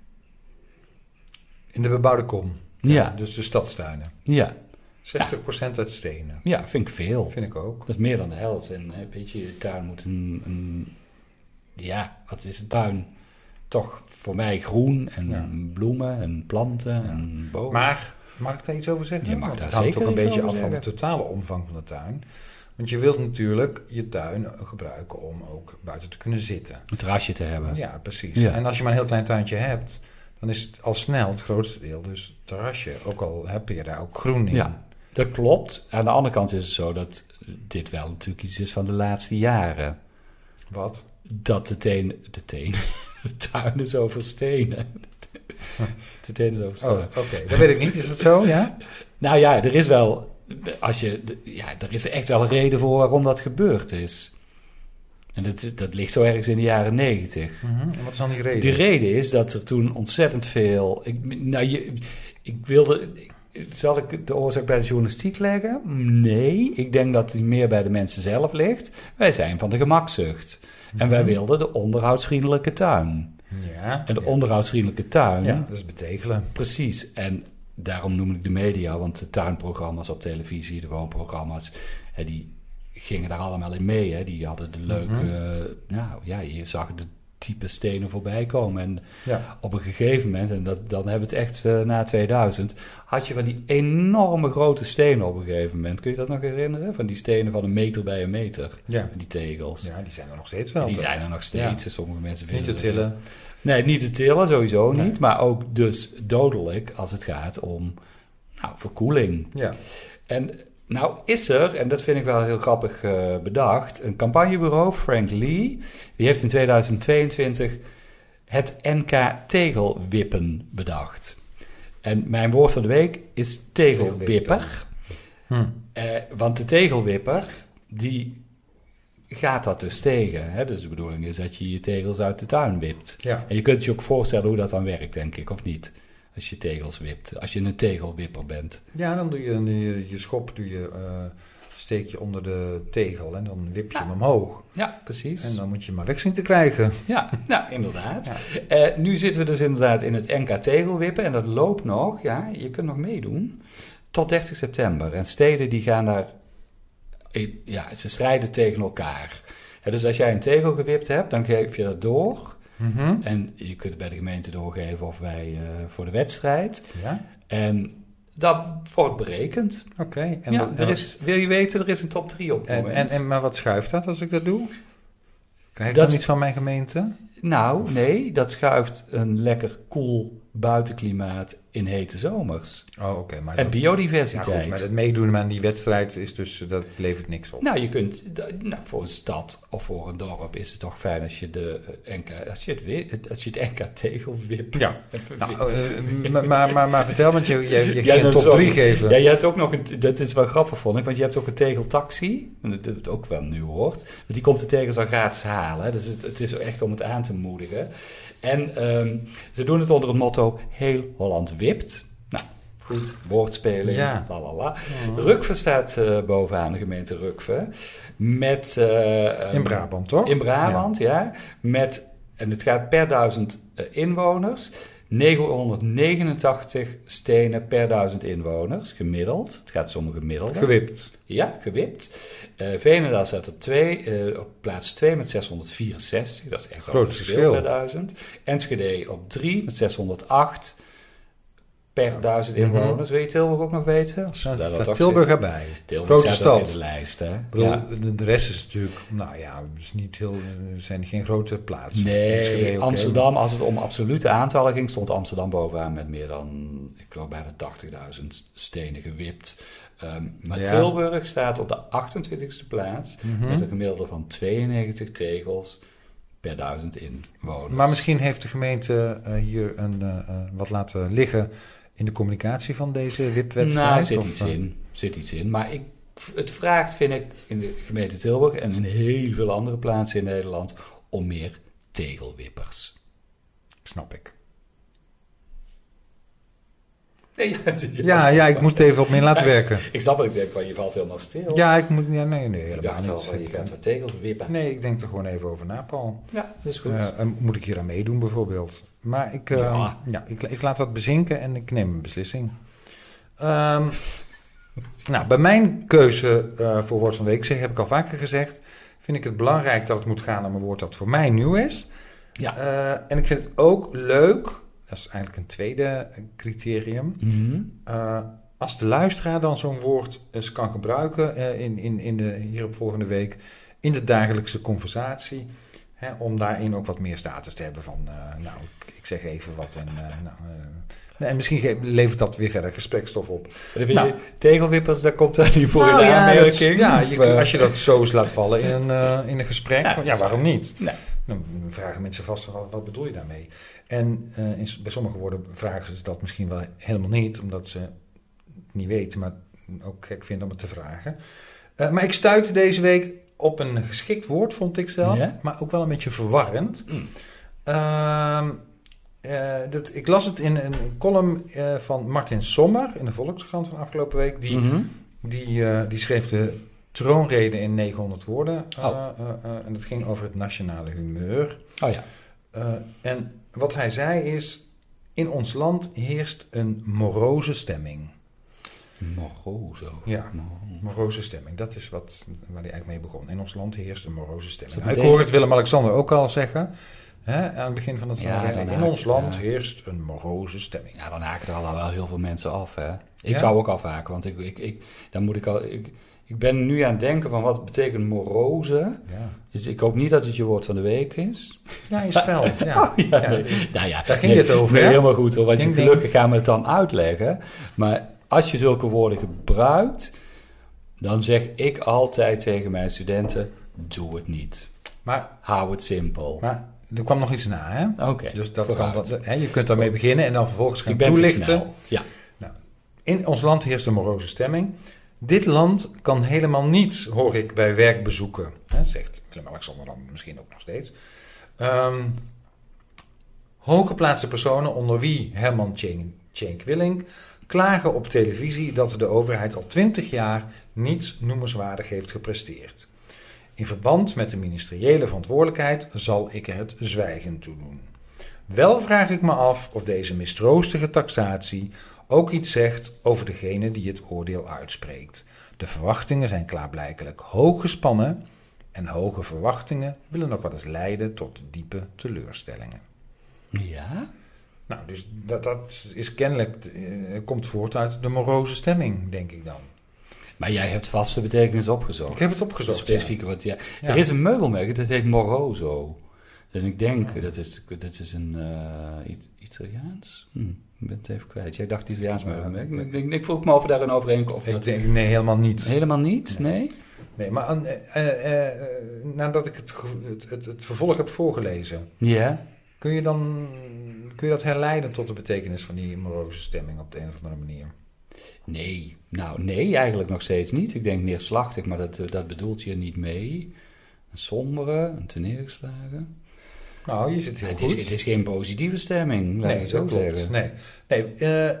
Speaker 2: In de bebouwde kom.
Speaker 1: Ja,
Speaker 2: Dus de stadstuinen.
Speaker 1: ja,
Speaker 2: 60% uit stenen.
Speaker 1: ja, vind ik veel.
Speaker 2: Vind ik ook.
Speaker 1: Dat is meer dan de helft. En eh, weet je, je tuin moet een, een- Ja, wat is een tuin? Toch voor mij groen en
Speaker 2: Ja.
Speaker 1: bloemen en planten en bomen.
Speaker 2: Maar Oh, mag ik daar iets over zeggen?
Speaker 1: Je mag
Speaker 2: Want
Speaker 1: daar
Speaker 2: het hangt
Speaker 1: zeker
Speaker 2: ook
Speaker 1: iets
Speaker 2: een beetje af
Speaker 1: over
Speaker 2: van de
Speaker 1: zeggen.
Speaker 2: totale omvang van de tuin. Want je wilt natuurlijk je tuin gebruiken om ook buiten te kunnen zitten.
Speaker 1: een terrasje te hebben.
Speaker 2: Ja, precies.
Speaker 1: Ja.
Speaker 2: En als je maar een heel klein tuintje hebt, dan is het al snel het grootste deel dus terrasje. Ook al heb je daar ook groen in.
Speaker 1: Ja, dat klopt. Aan de andere kant is het zo dat dit wel natuurlijk iets is van de laatste jaren.
Speaker 2: Wat?
Speaker 1: Dat de teen, de teen, <laughs> de tuin is over stenen. <laughs> De teen is over
Speaker 2: Oh,
Speaker 1: stenen.
Speaker 2: oké. Dat weet ik niet. Is dat zo? Ja?
Speaker 1: Nou ja, er is wel, als je, ja, er is echt wel een reden voor waarom dat gebeurd is. En dat, dat ligt zo ergens in de jaren negentig.
Speaker 2: Mhm. En wat is dan die reden?
Speaker 1: De reden is dat er toen ontzettend veel. Ik, nou, je, ik wilde. Zal ik de oorzaak bij de journalistiek leggen? Nee, ik denk dat die meer bij de mensen zelf ligt. Wij zijn van de gemakzucht. En wij wilden de onderhoudsvriendelijke tuin.
Speaker 2: Ja.
Speaker 1: En de
Speaker 2: Mhm. ja.
Speaker 1: onderhoudsvriendelijke tuin,
Speaker 2: Ja, dat is betegelen.
Speaker 1: precies. En daarom noem ik de media, want de tuinprogramma's op televisie, de woonprogramma's, hè, die gingen daar allemaal in mee. Hè. Die hadden de
Speaker 2: Mhm.
Speaker 1: leuke. eh, nou ja, je zag de type stenen voorbij komen. En
Speaker 2: Ja.
Speaker 1: op een gegeven moment, en dat, dan hebben we het echt eh, na 2000, had je van die enorme grote stenen op een gegeven moment. Kun je dat nog herinneren? Van die stenen van een meter bij een meter.
Speaker 2: Ja.
Speaker 1: Die tegels.
Speaker 2: ja, die zijn er nog steeds wel.
Speaker 1: Die
Speaker 2: toch?
Speaker 1: zijn er nog steeds. Sommige mensen
Speaker 2: Niet
Speaker 1: vinden
Speaker 2: te
Speaker 1: dat- eh,
Speaker 2: tillen.
Speaker 1: Nee, niet te tillen, sowieso
Speaker 2: Nee.
Speaker 1: niet. Maar ook dus dodelijk als het gaat om nou, verkoeling.
Speaker 2: Ja.
Speaker 1: En nou is er, en dat vind ik wel heel grappig eh, bedacht, een campagnebureau, Frank Lee, die heeft in 2022 het NK Tegelwippen bedacht. En mijn woord van de week is tegelwipper.
Speaker 2: Hm.
Speaker 1: Eh, want de tegelwipper, die gaat dat dus tegen. Hè? Dus de bedoeling is dat je je tegels uit de tuin wipt.
Speaker 2: Ja.
Speaker 1: En je kunt je ook voorstellen hoe dat dan werkt, denk ik, of niet? Als je tegels wipt, als je een tegelwipper bent.
Speaker 2: ja, dan doe je dan doe je, je schop doe je, eh, steek je onder de tegel en dan wip je hem omhoog.
Speaker 1: Ja, precies.
Speaker 2: En dan moet je hem maar weg zien te krijgen.
Speaker 1: Ja, nou inderdaad. Eh, nu zitten we dus inderdaad in het NK Tegelwippen en dat loopt nog. Ja, je kunt nog meedoen tot 30 september. En steden die gaan daar, in- ja, ze strijden tegen elkaar. Hè, dus als jij een tegel gewipt hebt, dan geef je dat door.
Speaker 2: Mhm.
Speaker 1: En je kunt het bij de gemeente doorgeven of bij eh, voor de wedstrijd.
Speaker 2: Ja,
Speaker 1: En dat wordt berekend.
Speaker 2: oké. En,
Speaker 1: ja,
Speaker 2: wat-
Speaker 1: er is, Oh, wil je weten, er is een top 3 op het
Speaker 2: en,
Speaker 1: moment.
Speaker 2: en, en- maar wat schuift dat als ik dat doe? Krijg ik
Speaker 1: Dat
Speaker 2: dat
Speaker 1: is-
Speaker 2: niet van mijn gemeente?
Speaker 1: Nou, nee, dat schuift een lekker koel buitenklimaat in hete zomers.
Speaker 2: Oh, oké. maar
Speaker 1: En
Speaker 2: dat, ja,
Speaker 1: biodiversiteit.
Speaker 2: goed, maar het meedoen aan die wedstrijd is dus, eh, dat levert niks op.
Speaker 1: Nou, je kunt, d- nou, voor een stad of voor een dorp is het toch fijn als je, de, eh, NK, als je, het, wi- het- als je het NK tegel wipt. <laughs>
Speaker 2: Ja. Nou, eh, maar, maar, maar, maar vertel, want je, je, je ging een top 3 geven.
Speaker 1: Ja, je hebt ook nog een, t- dat is wel grappig vond ik, want je hebt ook een tegeltaxi, en dat het ook wel nu hoort, want die komt de tegels al gratis halen, hè. dus het, het is echt om het aan te moedigen. En ehm, ze doen het onder het motto Heel Holland wipt. Nou, goed, woordspeling,
Speaker 2: Ja.
Speaker 1: la la la. Rukve staat eh, bovenaan, de gemeente Rukve, met... eh,
Speaker 2: In
Speaker 1: ehm,
Speaker 2: Brabant, toch?
Speaker 1: in Brabant, ja. Met, en het gaat per duizend eh, inwoners, 989 stenen per duizend inwoners, gemiddeld. Het gaat dus om een gemiddelde.
Speaker 2: Ja. Gewipt.
Speaker 1: ja, gewipt. Eh Veenendaal staat op, twee, eh, op plaats 2 met 664, dat is echt wel een
Speaker 2: Groot verschil.
Speaker 1: per duizend. Enschede op 3 met 608 per duizend
Speaker 2: Mhm.
Speaker 1: inwoners. Wil je Tilburg ook nog weten? Als we
Speaker 2: Staat,
Speaker 1: daar
Speaker 2: staat
Speaker 1: toch
Speaker 2: Tilburg
Speaker 1: zitten.
Speaker 2: erbij.
Speaker 1: Tilburg
Speaker 2: Grote
Speaker 1: staat ook in
Speaker 2: stad.
Speaker 1: de lijst, hè?
Speaker 2: Ik bedoel,
Speaker 1: Ja.
Speaker 2: de- de rest is natuurlijk, nou ja, het is niet heel, er zijn geen grote plaatsen. Enschede,
Speaker 1: Nee,
Speaker 2: oké,
Speaker 1: Amsterdam, als het om absolute aantallen ging, stond Amsterdam bovenaan met meer dan, ik geloof, bijna 80.000 stenen gewipt. Ehm, maar
Speaker 2: Ja.
Speaker 1: Tilburg staat op de 28e plaats
Speaker 2: Mhm.
Speaker 1: met een gemiddelde van 92 tegels per duizend inwoners.
Speaker 2: Maar misschien heeft de gemeente eh, hier een, eh, eh, wat laten liggen in de communicatie van deze WIP-wedstrijd.
Speaker 1: nou, zit
Speaker 2: of,
Speaker 1: iets
Speaker 2: eh,
Speaker 1: in, zit iets in. Maar ik, het vraagt, vind ik, in de gemeente Tilburg en in heel veel andere plaatsen in Nederland om meer tegelwippers.
Speaker 2: Snap ik.
Speaker 1: Nee, ja,
Speaker 2: <laughs> Ja, ja, ik moest even op
Speaker 1: <laughs>
Speaker 2: me laten werken.
Speaker 1: Ik snap dat ik denk van je valt helemaal stil.
Speaker 2: Ja, ik moet, ja, nee, nee,
Speaker 1: Ik
Speaker 2: helemaal
Speaker 1: dacht al
Speaker 2: niet.
Speaker 1: van, je
Speaker 2: Ik-
Speaker 1: gaat wat tegels wippen.
Speaker 2: Nee, ik denk er gewoon even over na, Paul.
Speaker 1: Ja, dat is goed.
Speaker 2: Eh, en moet ik hier aan meedoen bijvoorbeeld? Maar ik, eh,
Speaker 1: Ja.
Speaker 2: ja. ik, ik laat dat bezinken en ik neem een beslissing.
Speaker 1: <laughs>
Speaker 2: Ehm, nou, bij mijn keuze eh, voor woord van de week, zeg, heb ik al vaker gezegd, vind ik het belangrijk dat het moet gaan om een woord dat voor mij nieuw is.
Speaker 1: Ja.
Speaker 2: Eh, en ik vind het ook leuk, dat is eigenlijk een tweede criterium, eh, als de luisteraar dan zo'n woord eens kan gebruiken eh, in, in, in de hierop volgende week, in de dagelijkse conversatie, hè, om daarin ook wat meer status te hebben van, eh, nou, ik, ik zeg even wat en, eh, nou, eh, nee, en misschien ge- levert dat weer verder gesprekstof op.
Speaker 1: Dan vind
Speaker 2: Nou.
Speaker 1: je tegelwippers, daar komt daar niet voor
Speaker 2: Nou
Speaker 1: in
Speaker 2: ja, dat-
Speaker 1: aanmerking.
Speaker 2: ja,
Speaker 1: Of,
Speaker 2: je-
Speaker 1: eh,
Speaker 2: als je dat zo eens laat vallen in een, eh, in een gesprek,
Speaker 1: Ja,
Speaker 2: ja,
Speaker 1: dat is
Speaker 2: waarom niet?
Speaker 1: Nee.
Speaker 2: Dan vragen mensen vast, wat, wat bedoel je daarmee? En eh, in s- bij sommige woorden vragen ze dat misschien wel helemaal niet, omdat ze het niet weten, maar ook gek vinden om het te vragen. Eh, maar ik stuitte deze week op een geschikt woord, vond ik zelf,
Speaker 1: Ja?
Speaker 2: maar ook wel een beetje verwarrend.
Speaker 1: Mm.
Speaker 2: Ehm, eh, dat, ik las het in een column eh, van Martin Sommer in de Volkskrant van afgelopen week, die
Speaker 1: mhm.
Speaker 2: die, eh, die schreef de troonrede in 900 woorden. Eh,
Speaker 1: Oh.
Speaker 2: eh, eh, en dat ging over het nationale humeur.
Speaker 1: Oh ja.
Speaker 2: Eh, en wat hij zei is... In ons land heerst een moroze stemming.
Speaker 1: Morozo.
Speaker 2: Ja,
Speaker 1: Morozo.
Speaker 2: moroze stemming. Dat is wat, waar hij eigenlijk mee begon. In ons land heerst een moroze stemming.
Speaker 1: Dat
Speaker 2: Nou, ik
Speaker 1: betekent-
Speaker 2: hoor het Willem-Alexander ook al zeggen... Hè, aan het begin van het
Speaker 1: Ja,
Speaker 2: verhaal.
Speaker 1: daarna,
Speaker 2: In ons land
Speaker 1: ja.
Speaker 2: heerst een moroze stemming.
Speaker 1: Ja, dan haken er al wel heel veel mensen af, hè. Ik
Speaker 2: Ja?
Speaker 1: zou ook afhaken, want ik, ik, ik, dan moet ik al... Ik, ik ben nu aan het denken van wat betekent moroze.
Speaker 2: Ja,
Speaker 1: Dus ik hoop niet dat het je woord van de week is.
Speaker 2: ja
Speaker 1: <laughs>
Speaker 2: is snel. Ja.
Speaker 1: Oh, ja,
Speaker 2: Ja,
Speaker 1: nee.
Speaker 2: dat-
Speaker 1: nou ja,
Speaker 2: daar ging
Speaker 1: nee,
Speaker 2: het over,
Speaker 1: nee,
Speaker 2: hè?
Speaker 1: helemaal goed hoor, want je
Speaker 2: Ding, ding.
Speaker 1: gelukkig gaan we het dan uitleggen. Maar als je zulke woorden gebruikt, dan zeg ik altijd tegen mijn studenten: doe het niet.
Speaker 2: Maar,
Speaker 1: Hou het simpel.
Speaker 2: maar er kwam nog iets na, hè?
Speaker 1: Oké.
Speaker 2: Dus dat kan,
Speaker 1: vooruit.
Speaker 2: dat, hè, je kunt daarmee beginnen en dan vervolgens gaan
Speaker 1: Ik ben
Speaker 2: toelichten.
Speaker 1: te snel. Ja.
Speaker 2: In ons land heerst een moroze stemming. Dit land kan helemaal niets, hoor ik bij werkbezoeken. Hè, zegt Willem-Alexander dan misschien ook nog steeds. Ehm, hooggeplaatste personen, onder wie Herman Tjenk Willink, klagen op televisie dat de overheid al twintig jaar niets noemenswaardig heeft gepresteerd. In verband met de ministeriële verantwoordelijkheid zal ik er het zwijgen toe doen. Wel vraag ik me af of deze mistroostige taxatie ook iets zegt over degene die het oordeel uitspreekt. De verwachtingen zijn klaarblijkelijk hoog gespannen en hoge verwachtingen willen nog wel eens leiden tot diepe teleurstellingen.
Speaker 1: Ja?
Speaker 2: Nou, dus dat, dat is kennelijk, eh, komt voort uit de moroze stemming, denk ik dan.
Speaker 1: Maar jij hebt vaste betekenis opgezocht. Dus
Speaker 2: Ik heb het opgezocht,
Speaker 1: Specifiek wat, ja.
Speaker 2: Ja.
Speaker 1: Er is een meubelmerk, dat heet Moroso. En ik denk, dat is, dat is een eh, I- Italiaans? Hm, ik ben het even kwijt. Jij dacht Italiaans meubelmerk. Ik, denk- ik vroeg me of daar een overeenkomst of
Speaker 2: Ik
Speaker 1: dat...
Speaker 2: denk, nee, helemaal niet.
Speaker 1: Helemaal niet? Nee?
Speaker 2: Nee, maar aan- eh, eh, eh, nadat ik het, ge- het, het, het vervolg heb voorgelezen,
Speaker 1: Ja?
Speaker 2: kun je dan kun je dat herleiden tot de betekenis van die moroze stemming op de een of andere manier?
Speaker 1: Nee. Nou, nee, eigenlijk nog steeds niet. Ik denk neerslachtig, maar dat, eh, dat bedoelt hier niet mee. Een sombere, een teneergeslagen.
Speaker 2: Nou, je zit heel
Speaker 1: Het
Speaker 2: goed.
Speaker 1: is, het is geen positieve stemming, laat ik
Speaker 2: nee,
Speaker 1: het zo
Speaker 2: dat klopt.
Speaker 1: zeggen.
Speaker 2: Nee, nee eh, eh,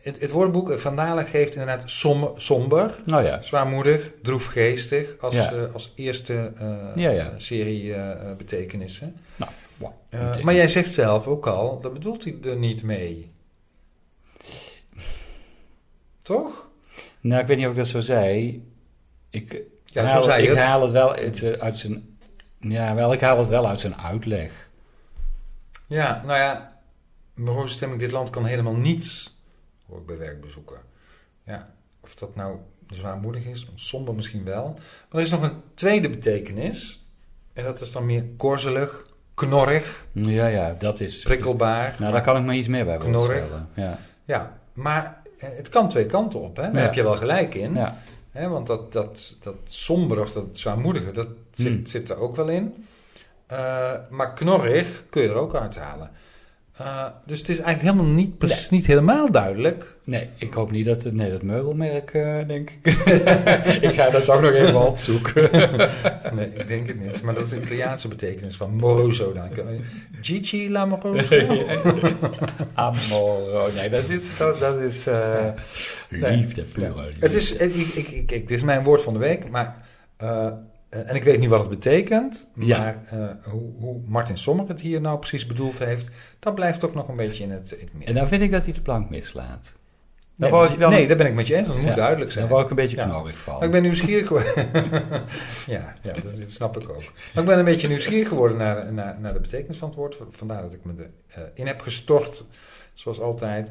Speaker 2: het, het woordenboek van Dalen geeft inderdaad som, somber,
Speaker 1: Nou ja.
Speaker 2: zwaarmoedig, droefgeestig als,
Speaker 1: Ja.
Speaker 2: eh, als eerste eh,
Speaker 1: Ja, ja.
Speaker 2: serie eh, eh, betekenissen.
Speaker 1: Nou, wow.
Speaker 2: Eh,
Speaker 1: Betekent-
Speaker 2: maar jij zegt zelf ook al, dat bedoelt hij er niet
Speaker 1: <laughs>
Speaker 2: mee. Toch?
Speaker 1: Nou, ik weet niet of ik dat zo zei. Ik,
Speaker 2: Ja, zo
Speaker 1: haal,
Speaker 2: zei je
Speaker 1: Nou, ik
Speaker 2: het.
Speaker 1: haal het wel uit, eh, uit zijn. Ja, wel, ik haal het wel uit zijn uitleg.
Speaker 2: Ja, nou ja, Bureau Stemming Dit Land kan helemaal niets, hoor ik bij werkbezoeken. Ja, of dat nou zwaarmoedig is, somber misschien wel. Maar er is nog een tweede betekenis. En dat is dan meer korzelig, knorrig,
Speaker 1: Ja, ja, dat is.
Speaker 2: prikkelbaar.
Speaker 1: Nou, daar kan ik me iets meer bij
Speaker 2: Knorrig.
Speaker 1: voorstellen. Ja.
Speaker 2: Ja, maar eh, het kan twee kanten op, hè? daar
Speaker 1: Ja.
Speaker 2: heb je wel gelijk in.
Speaker 1: ja.
Speaker 2: Hè, want dat, dat, dat sombere of dat zwaarmoedige, dat zit,
Speaker 1: Hmm.
Speaker 2: zit er ook wel in. Eh, maar knorrig kun je er ook uithalen. Eh, dus het is eigenlijk helemaal niet, precies, niet helemaal duidelijk.
Speaker 1: Nee, ik hoop niet dat. Nee, dat meubelmerk, eh, denk
Speaker 2: <laughs>
Speaker 1: ik. ik ga dat ook nog even opzoeken.
Speaker 2: Nee, ik denk het niet. Maar dat is de Italiaanse betekenis van moroso <laughs> dan. Gigi la moroso.
Speaker 1: <laughs> Amor. Oh, Nee, dat is. Dat, dat is eh, Liefde, pure. liefde.
Speaker 2: Het is, ik, ik, ik, ik- dit is mijn woord van de week, maar... eh, eh, en ik weet niet wat het betekent,
Speaker 1: Ja.
Speaker 2: maar eh, hoe, hoe Martin Sommer het hier nou precies bedoeld heeft, dat blijft ook nog een beetje in het, in het midden.
Speaker 1: En dan vind ik dat hij de plank mislaat. Dan
Speaker 2: Nee,
Speaker 1: wou
Speaker 2: want
Speaker 1: ik
Speaker 2: je-
Speaker 1: wel
Speaker 2: nee, daar ben ik met je eens. Dat moet
Speaker 1: Ja,
Speaker 2: duidelijk zijn.
Speaker 1: Dan word ik een beetje
Speaker 2: Ja.
Speaker 1: knorrig van.
Speaker 2: Maar ik ben nieuwsgierig geworden. <laughs> ja, ja dat, dat snap ik ook. Maar ik ben een beetje nieuwsgierig geworden naar, naar, naar de betekenis van het woord. Vandaar dat ik me erin in heb gestort, zoals altijd.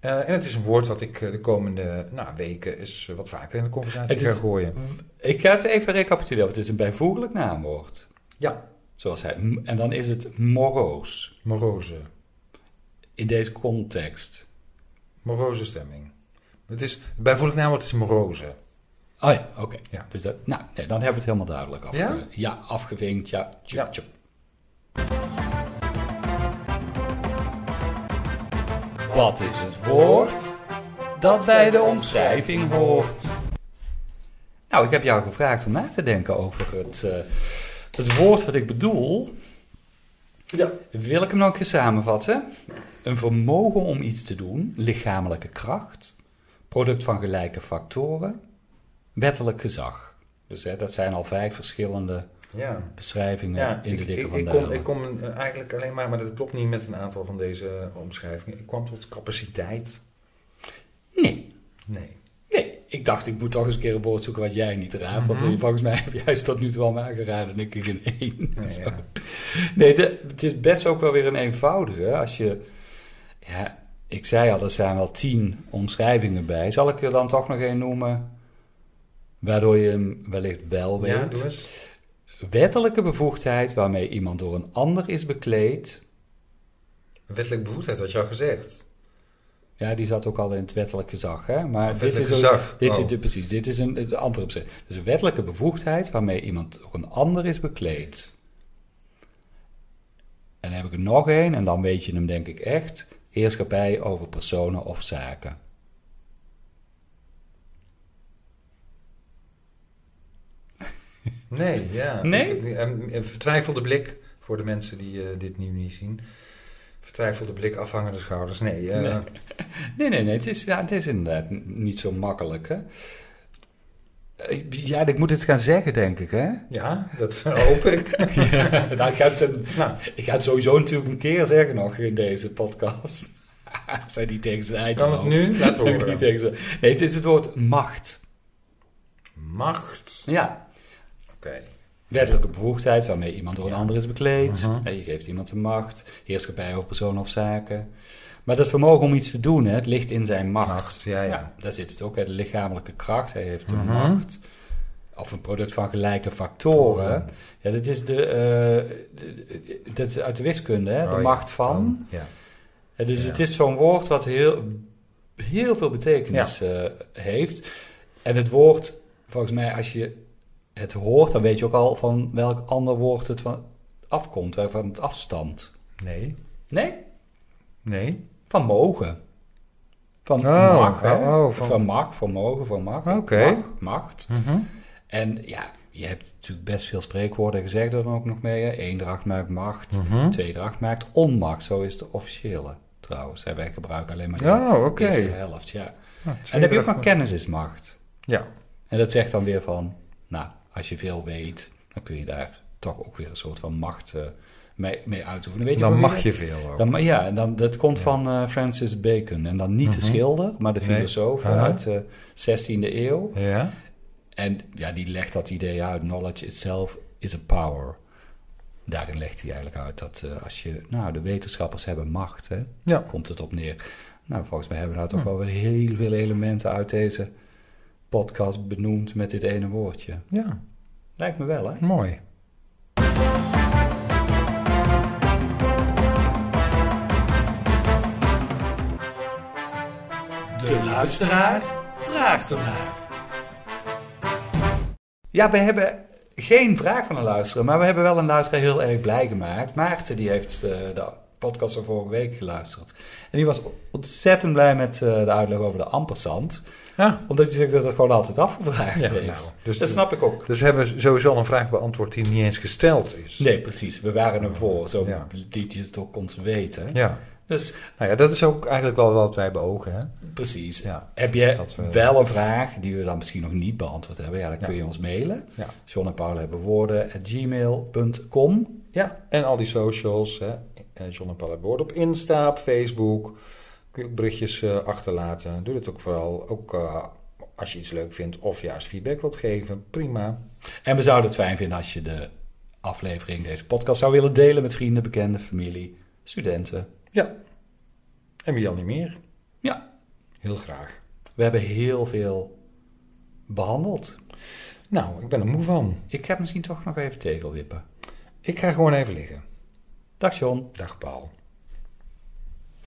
Speaker 2: Eh, en het is een woord wat ik eh, de komende nou, weken eens eh, wat vaker in de conversatie
Speaker 1: Het
Speaker 2: ga
Speaker 1: is-
Speaker 2: gooien.
Speaker 1: Ik ga het even recapituleren. want Het is een bijvoeglijk naamwoord.
Speaker 2: Ja,
Speaker 1: Zoals hij, m- en dan is het moroos.
Speaker 2: moroze.
Speaker 1: In deze context.
Speaker 2: Moroze stemming. Het is, bijvoeglijk naamwoord
Speaker 1: dus
Speaker 2: is moroze.
Speaker 1: Oh ja, oké.
Speaker 2: Ja.
Speaker 1: Dus dat, nou, nee, dan hebben we het helemaal duidelijk afge,
Speaker 2: Ja?
Speaker 1: ja, afgevinkt. Ja, tjup,
Speaker 2: Ja.
Speaker 1: tjup. Wat is het woord dat bij de omschrijving hoort? Nou, ik heb jou gevraagd om na te denken over het, eh, het woord wat ik bedoel.
Speaker 2: Ja.
Speaker 1: Wil ik hem nog eens samenvatten? Een vermogen om iets te doen, lichamelijke kracht, product van gelijke factoren, wettelijk gezag. Dus hè, dat zijn al vijf verschillende
Speaker 2: Ja.
Speaker 1: beschrijvingen
Speaker 2: Ja,
Speaker 1: in de
Speaker 2: ik,
Speaker 1: dikke
Speaker 2: ik,
Speaker 1: van
Speaker 2: ik
Speaker 1: Dalen.
Speaker 2: kom, ik kom eh, eigenlijk alleen maar, maar dat klopt niet met een aantal van deze eh, omschrijvingen. Ik kwam tot capaciteit.
Speaker 1: Nee, <laughs>
Speaker 2: Nee.
Speaker 1: nee. Ik dacht, ik moet toch eens een keer een woord zoeken wat jij niet raadt.
Speaker 2: Mhm.
Speaker 1: Want volgens mij heb jij ze tot nu toe al maar geraden en ik er geen één. <laughs>
Speaker 2: Nee,
Speaker 1: Zo.
Speaker 2: ja.
Speaker 1: Nee, de- het is best ook wel weer een eenvoudige. Als je, ja, ik zei al, er zijn wel tien omschrijvingen bij. Zal ik er dan toch nog één noemen, waardoor je hem wellicht wel
Speaker 2: Ja,
Speaker 1: weet?
Speaker 2: doe eens.
Speaker 1: Wettelijke bevoegdheid waarmee iemand door een ander is bekleed.
Speaker 2: Wettelijk bevoegdheid had je al gezegd.
Speaker 1: Ja, die zat ook al in het wettelijk gezag, hè? Maar dit
Speaker 2: Wettelijk
Speaker 1: is, ook,
Speaker 2: gezag.
Speaker 1: dit,
Speaker 2: Oh.
Speaker 1: dit- precies, dit is een, een andere opzet. Dus een wettelijke bevoegdheid waarmee iemand door een ander is bekleed. En dan heb ik er nog één, en dan weet je hem denk ik echt. Heerschappij over personen of zaken.
Speaker 2: Nee, ja.
Speaker 1: Nee?
Speaker 2: Ik- ik- Een, een vertwijfelde blik voor de mensen die eh, dit nu niet zien. vertwijfelde blik, afhangende schouders. Nee, eh,
Speaker 1: Nee. Nee, nee, nee. Het is, ja, het is inderdaad n- niet zo makkelijk, hè. Eh, Ja, ik moet het gaan zeggen, denk ik, <laughs> hè?
Speaker 2: ja, dat <laughs> hoop ik.
Speaker 1: Ja, nou, ik, ga het, een-
Speaker 2: Nou.
Speaker 1: ik ga het sowieso natuurlijk een keer zeggen nog in deze podcast. <laughs> Het zijn niet tegen zijn eind
Speaker 2: Kan het
Speaker 1: <laughs>
Speaker 2: nu? Laten we horen.
Speaker 1: Niet tegen zijn- Nee, het is het woord macht.
Speaker 2: Macht.
Speaker 1: Ja,
Speaker 2: Oké.
Speaker 1: wettelijke bevoegdheid waarmee iemand door een ander is bekleed.
Speaker 2: Mhm.
Speaker 1: En Je geeft iemand de macht, heerschappij over persoon of zaken. Maar dat vermogen om iets te doen, hè, het ligt in zijn macht.
Speaker 2: Macht, ja, ja.
Speaker 1: daar zit het ook, hè, de lichamelijke kracht. Hij heeft de
Speaker 2: Mhm.
Speaker 1: macht. Of een product van gelijke factoren. Ja, dat is, de, eh, de- de- dat is uit de wiskunde, hè?
Speaker 2: Oh,
Speaker 1: de
Speaker 2: ja.
Speaker 1: macht van.
Speaker 2: Ja.
Speaker 1: Ja, dus
Speaker 2: Ja.
Speaker 1: het is zo'n woord wat heel, heel veel betekenis eh, heeft. En het woord, volgens mij, als je het hoort, dan weet je ook al van welk ander woord het van afkomt, waarvan het afstamt.
Speaker 2: Nee.
Speaker 1: Nee,
Speaker 2: Nee.
Speaker 1: van mogen. Van
Speaker 2: Oh,
Speaker 1: mag, hè?
Speaker 2: oh, oh,
Speaker 1: van...
Speaker 2: van-
Speaker 1: mag, van mogen, van mag.
Speaker 2: Oké.
Speaker 1: Mag, macht.
Speaker 2: Mhm.
Speaker 1: En ja, je hebt natuurlijk best veel spreekwoorden gezegd er dan ook nog mee. hè. Eendracht maakt macht,
Speaker 2: Mhm.
Speaker 1: tweedracht maakt onmacht. Zo is de officiële trouwens. hè. Wij gebruiken alleen maar de
Speaker 2: Oh, oké.
Speaker 1: eerste helft, ja.
Speaker 2: Nou,
Speaker 1: eh, En dan heb je ook
Speaker 2: tweedracht-
Speaker 1: maar kennis is macht.
Speaker 2: Ja.
Speaker 1: En dat zegt dan weer van, nou, als je veel weet, dan kun je daar toch ook weer een soort van macht eh, mee, mee uitoefenen. Weet je
Speaker 2: Dan
Speaker 1: ook
Speaker 2: mag
Speaker 1: weer-
Speaker 2: je veel ook.
Speaker 1: dan, maar ja, en dan, dat komt van eh, Francis Bacon. En dan niet de schilder, maar de
Speaker 2: Mhm. Nee.
Speaker 1: filosoof
Speaker 2: Aha.
Speaker 1: uit de 16e eeuw.
Speaker 2: Ja.
Speaker 1: En ja, die legt dat idee uit. Knowledge itself is a power. Daarin legt hij eigenlijk uit dat eh, als je... Nou, de wetenschappers hebben macht, hè.
Speaker 2: Ja.
Speaker 1: Komt het op neer. Nou, volgens mij hebben we nou toch wel weer heel veel elementen uit deze podcast benoemd met dit ene woordje.
Speaker 2: Ja.
Speaker 1: Lijkt me wel, hè?
Speaker 2: Mooi.
Speaker 1: De luisteraar vraagt ernaar. Ja, we hebben geen vraag van een luisteraar, maar we hebben wel een luisteraar heel erg blij gemaakt. Maarten die heeft eh, de podcast van vorige week geluisterd. En die was ontzettend blij met eh, de uitleg over de ampersand.
Speaker 2: Ja.
Speaker 1: Omdat hij zich dat het gewoon altijd afgevraagd
Speaker 2: Ja,
Speaker 1: heeft.
Speaker 2: nou,
Speaker 1: dat
Speaker 2: dus de-
Speaker 1: snap ik ook.
Speaker 2: Dus we hebben sowieso al een vraag beantwoord die niet eens gesteld is.
Speaker 1: Nee, precies. We waren ervoor. Zo
Speaker 2: Ja.
Speaker 1: liet hij het ook ons weten.
Speaker 2: Ja.
Speaker 1: Dus
Speaker 2: Nou ja, dat is ook eigenlijk wel wat wij beogen, hè?
Speaker 1: precies.
Speaker 2: Ja.
Speaker 1: Heb je
Speaker 2: Dat we-
Speaker 1: wel een vraag die we dan misschien nog niet beantwoord hebben? Ja, dan kun je ons mailen.
Speaker 2: Ja.
Speaker 1: John en Paul hebben woorden at gmail.com.
Speaker 2: Ja, en al die socials, hè? Eh, John en Paul hebben woord op Insta, op Facebook. Kun je ook berichtjes eh, achterlaten. Doe dat ook vooral. Ook eh, als je iets leuk vindt of juist feedback wilt geven. Prima.
Speaker 1: En we zouden het fijn vinden als je de aflevering, deze podcast, zou willen delen met vrienden, bekenden, familie, studenten.
Speaker 2: Ja. En wie al niet meer?
Speaker 1: Ja,
Speaker 2: Heel graag.
Speaker 1: we hebben heel veel behandeld.
Speaker 2: Nou, ik ben er moe van.
Speaker 1: Ik heb misschien toch nog even tegelwippen.
Speaker 2: Ik ga gewoon even liggen.
Speaker 1: Dag John.
Speaker 2: Dag Paul.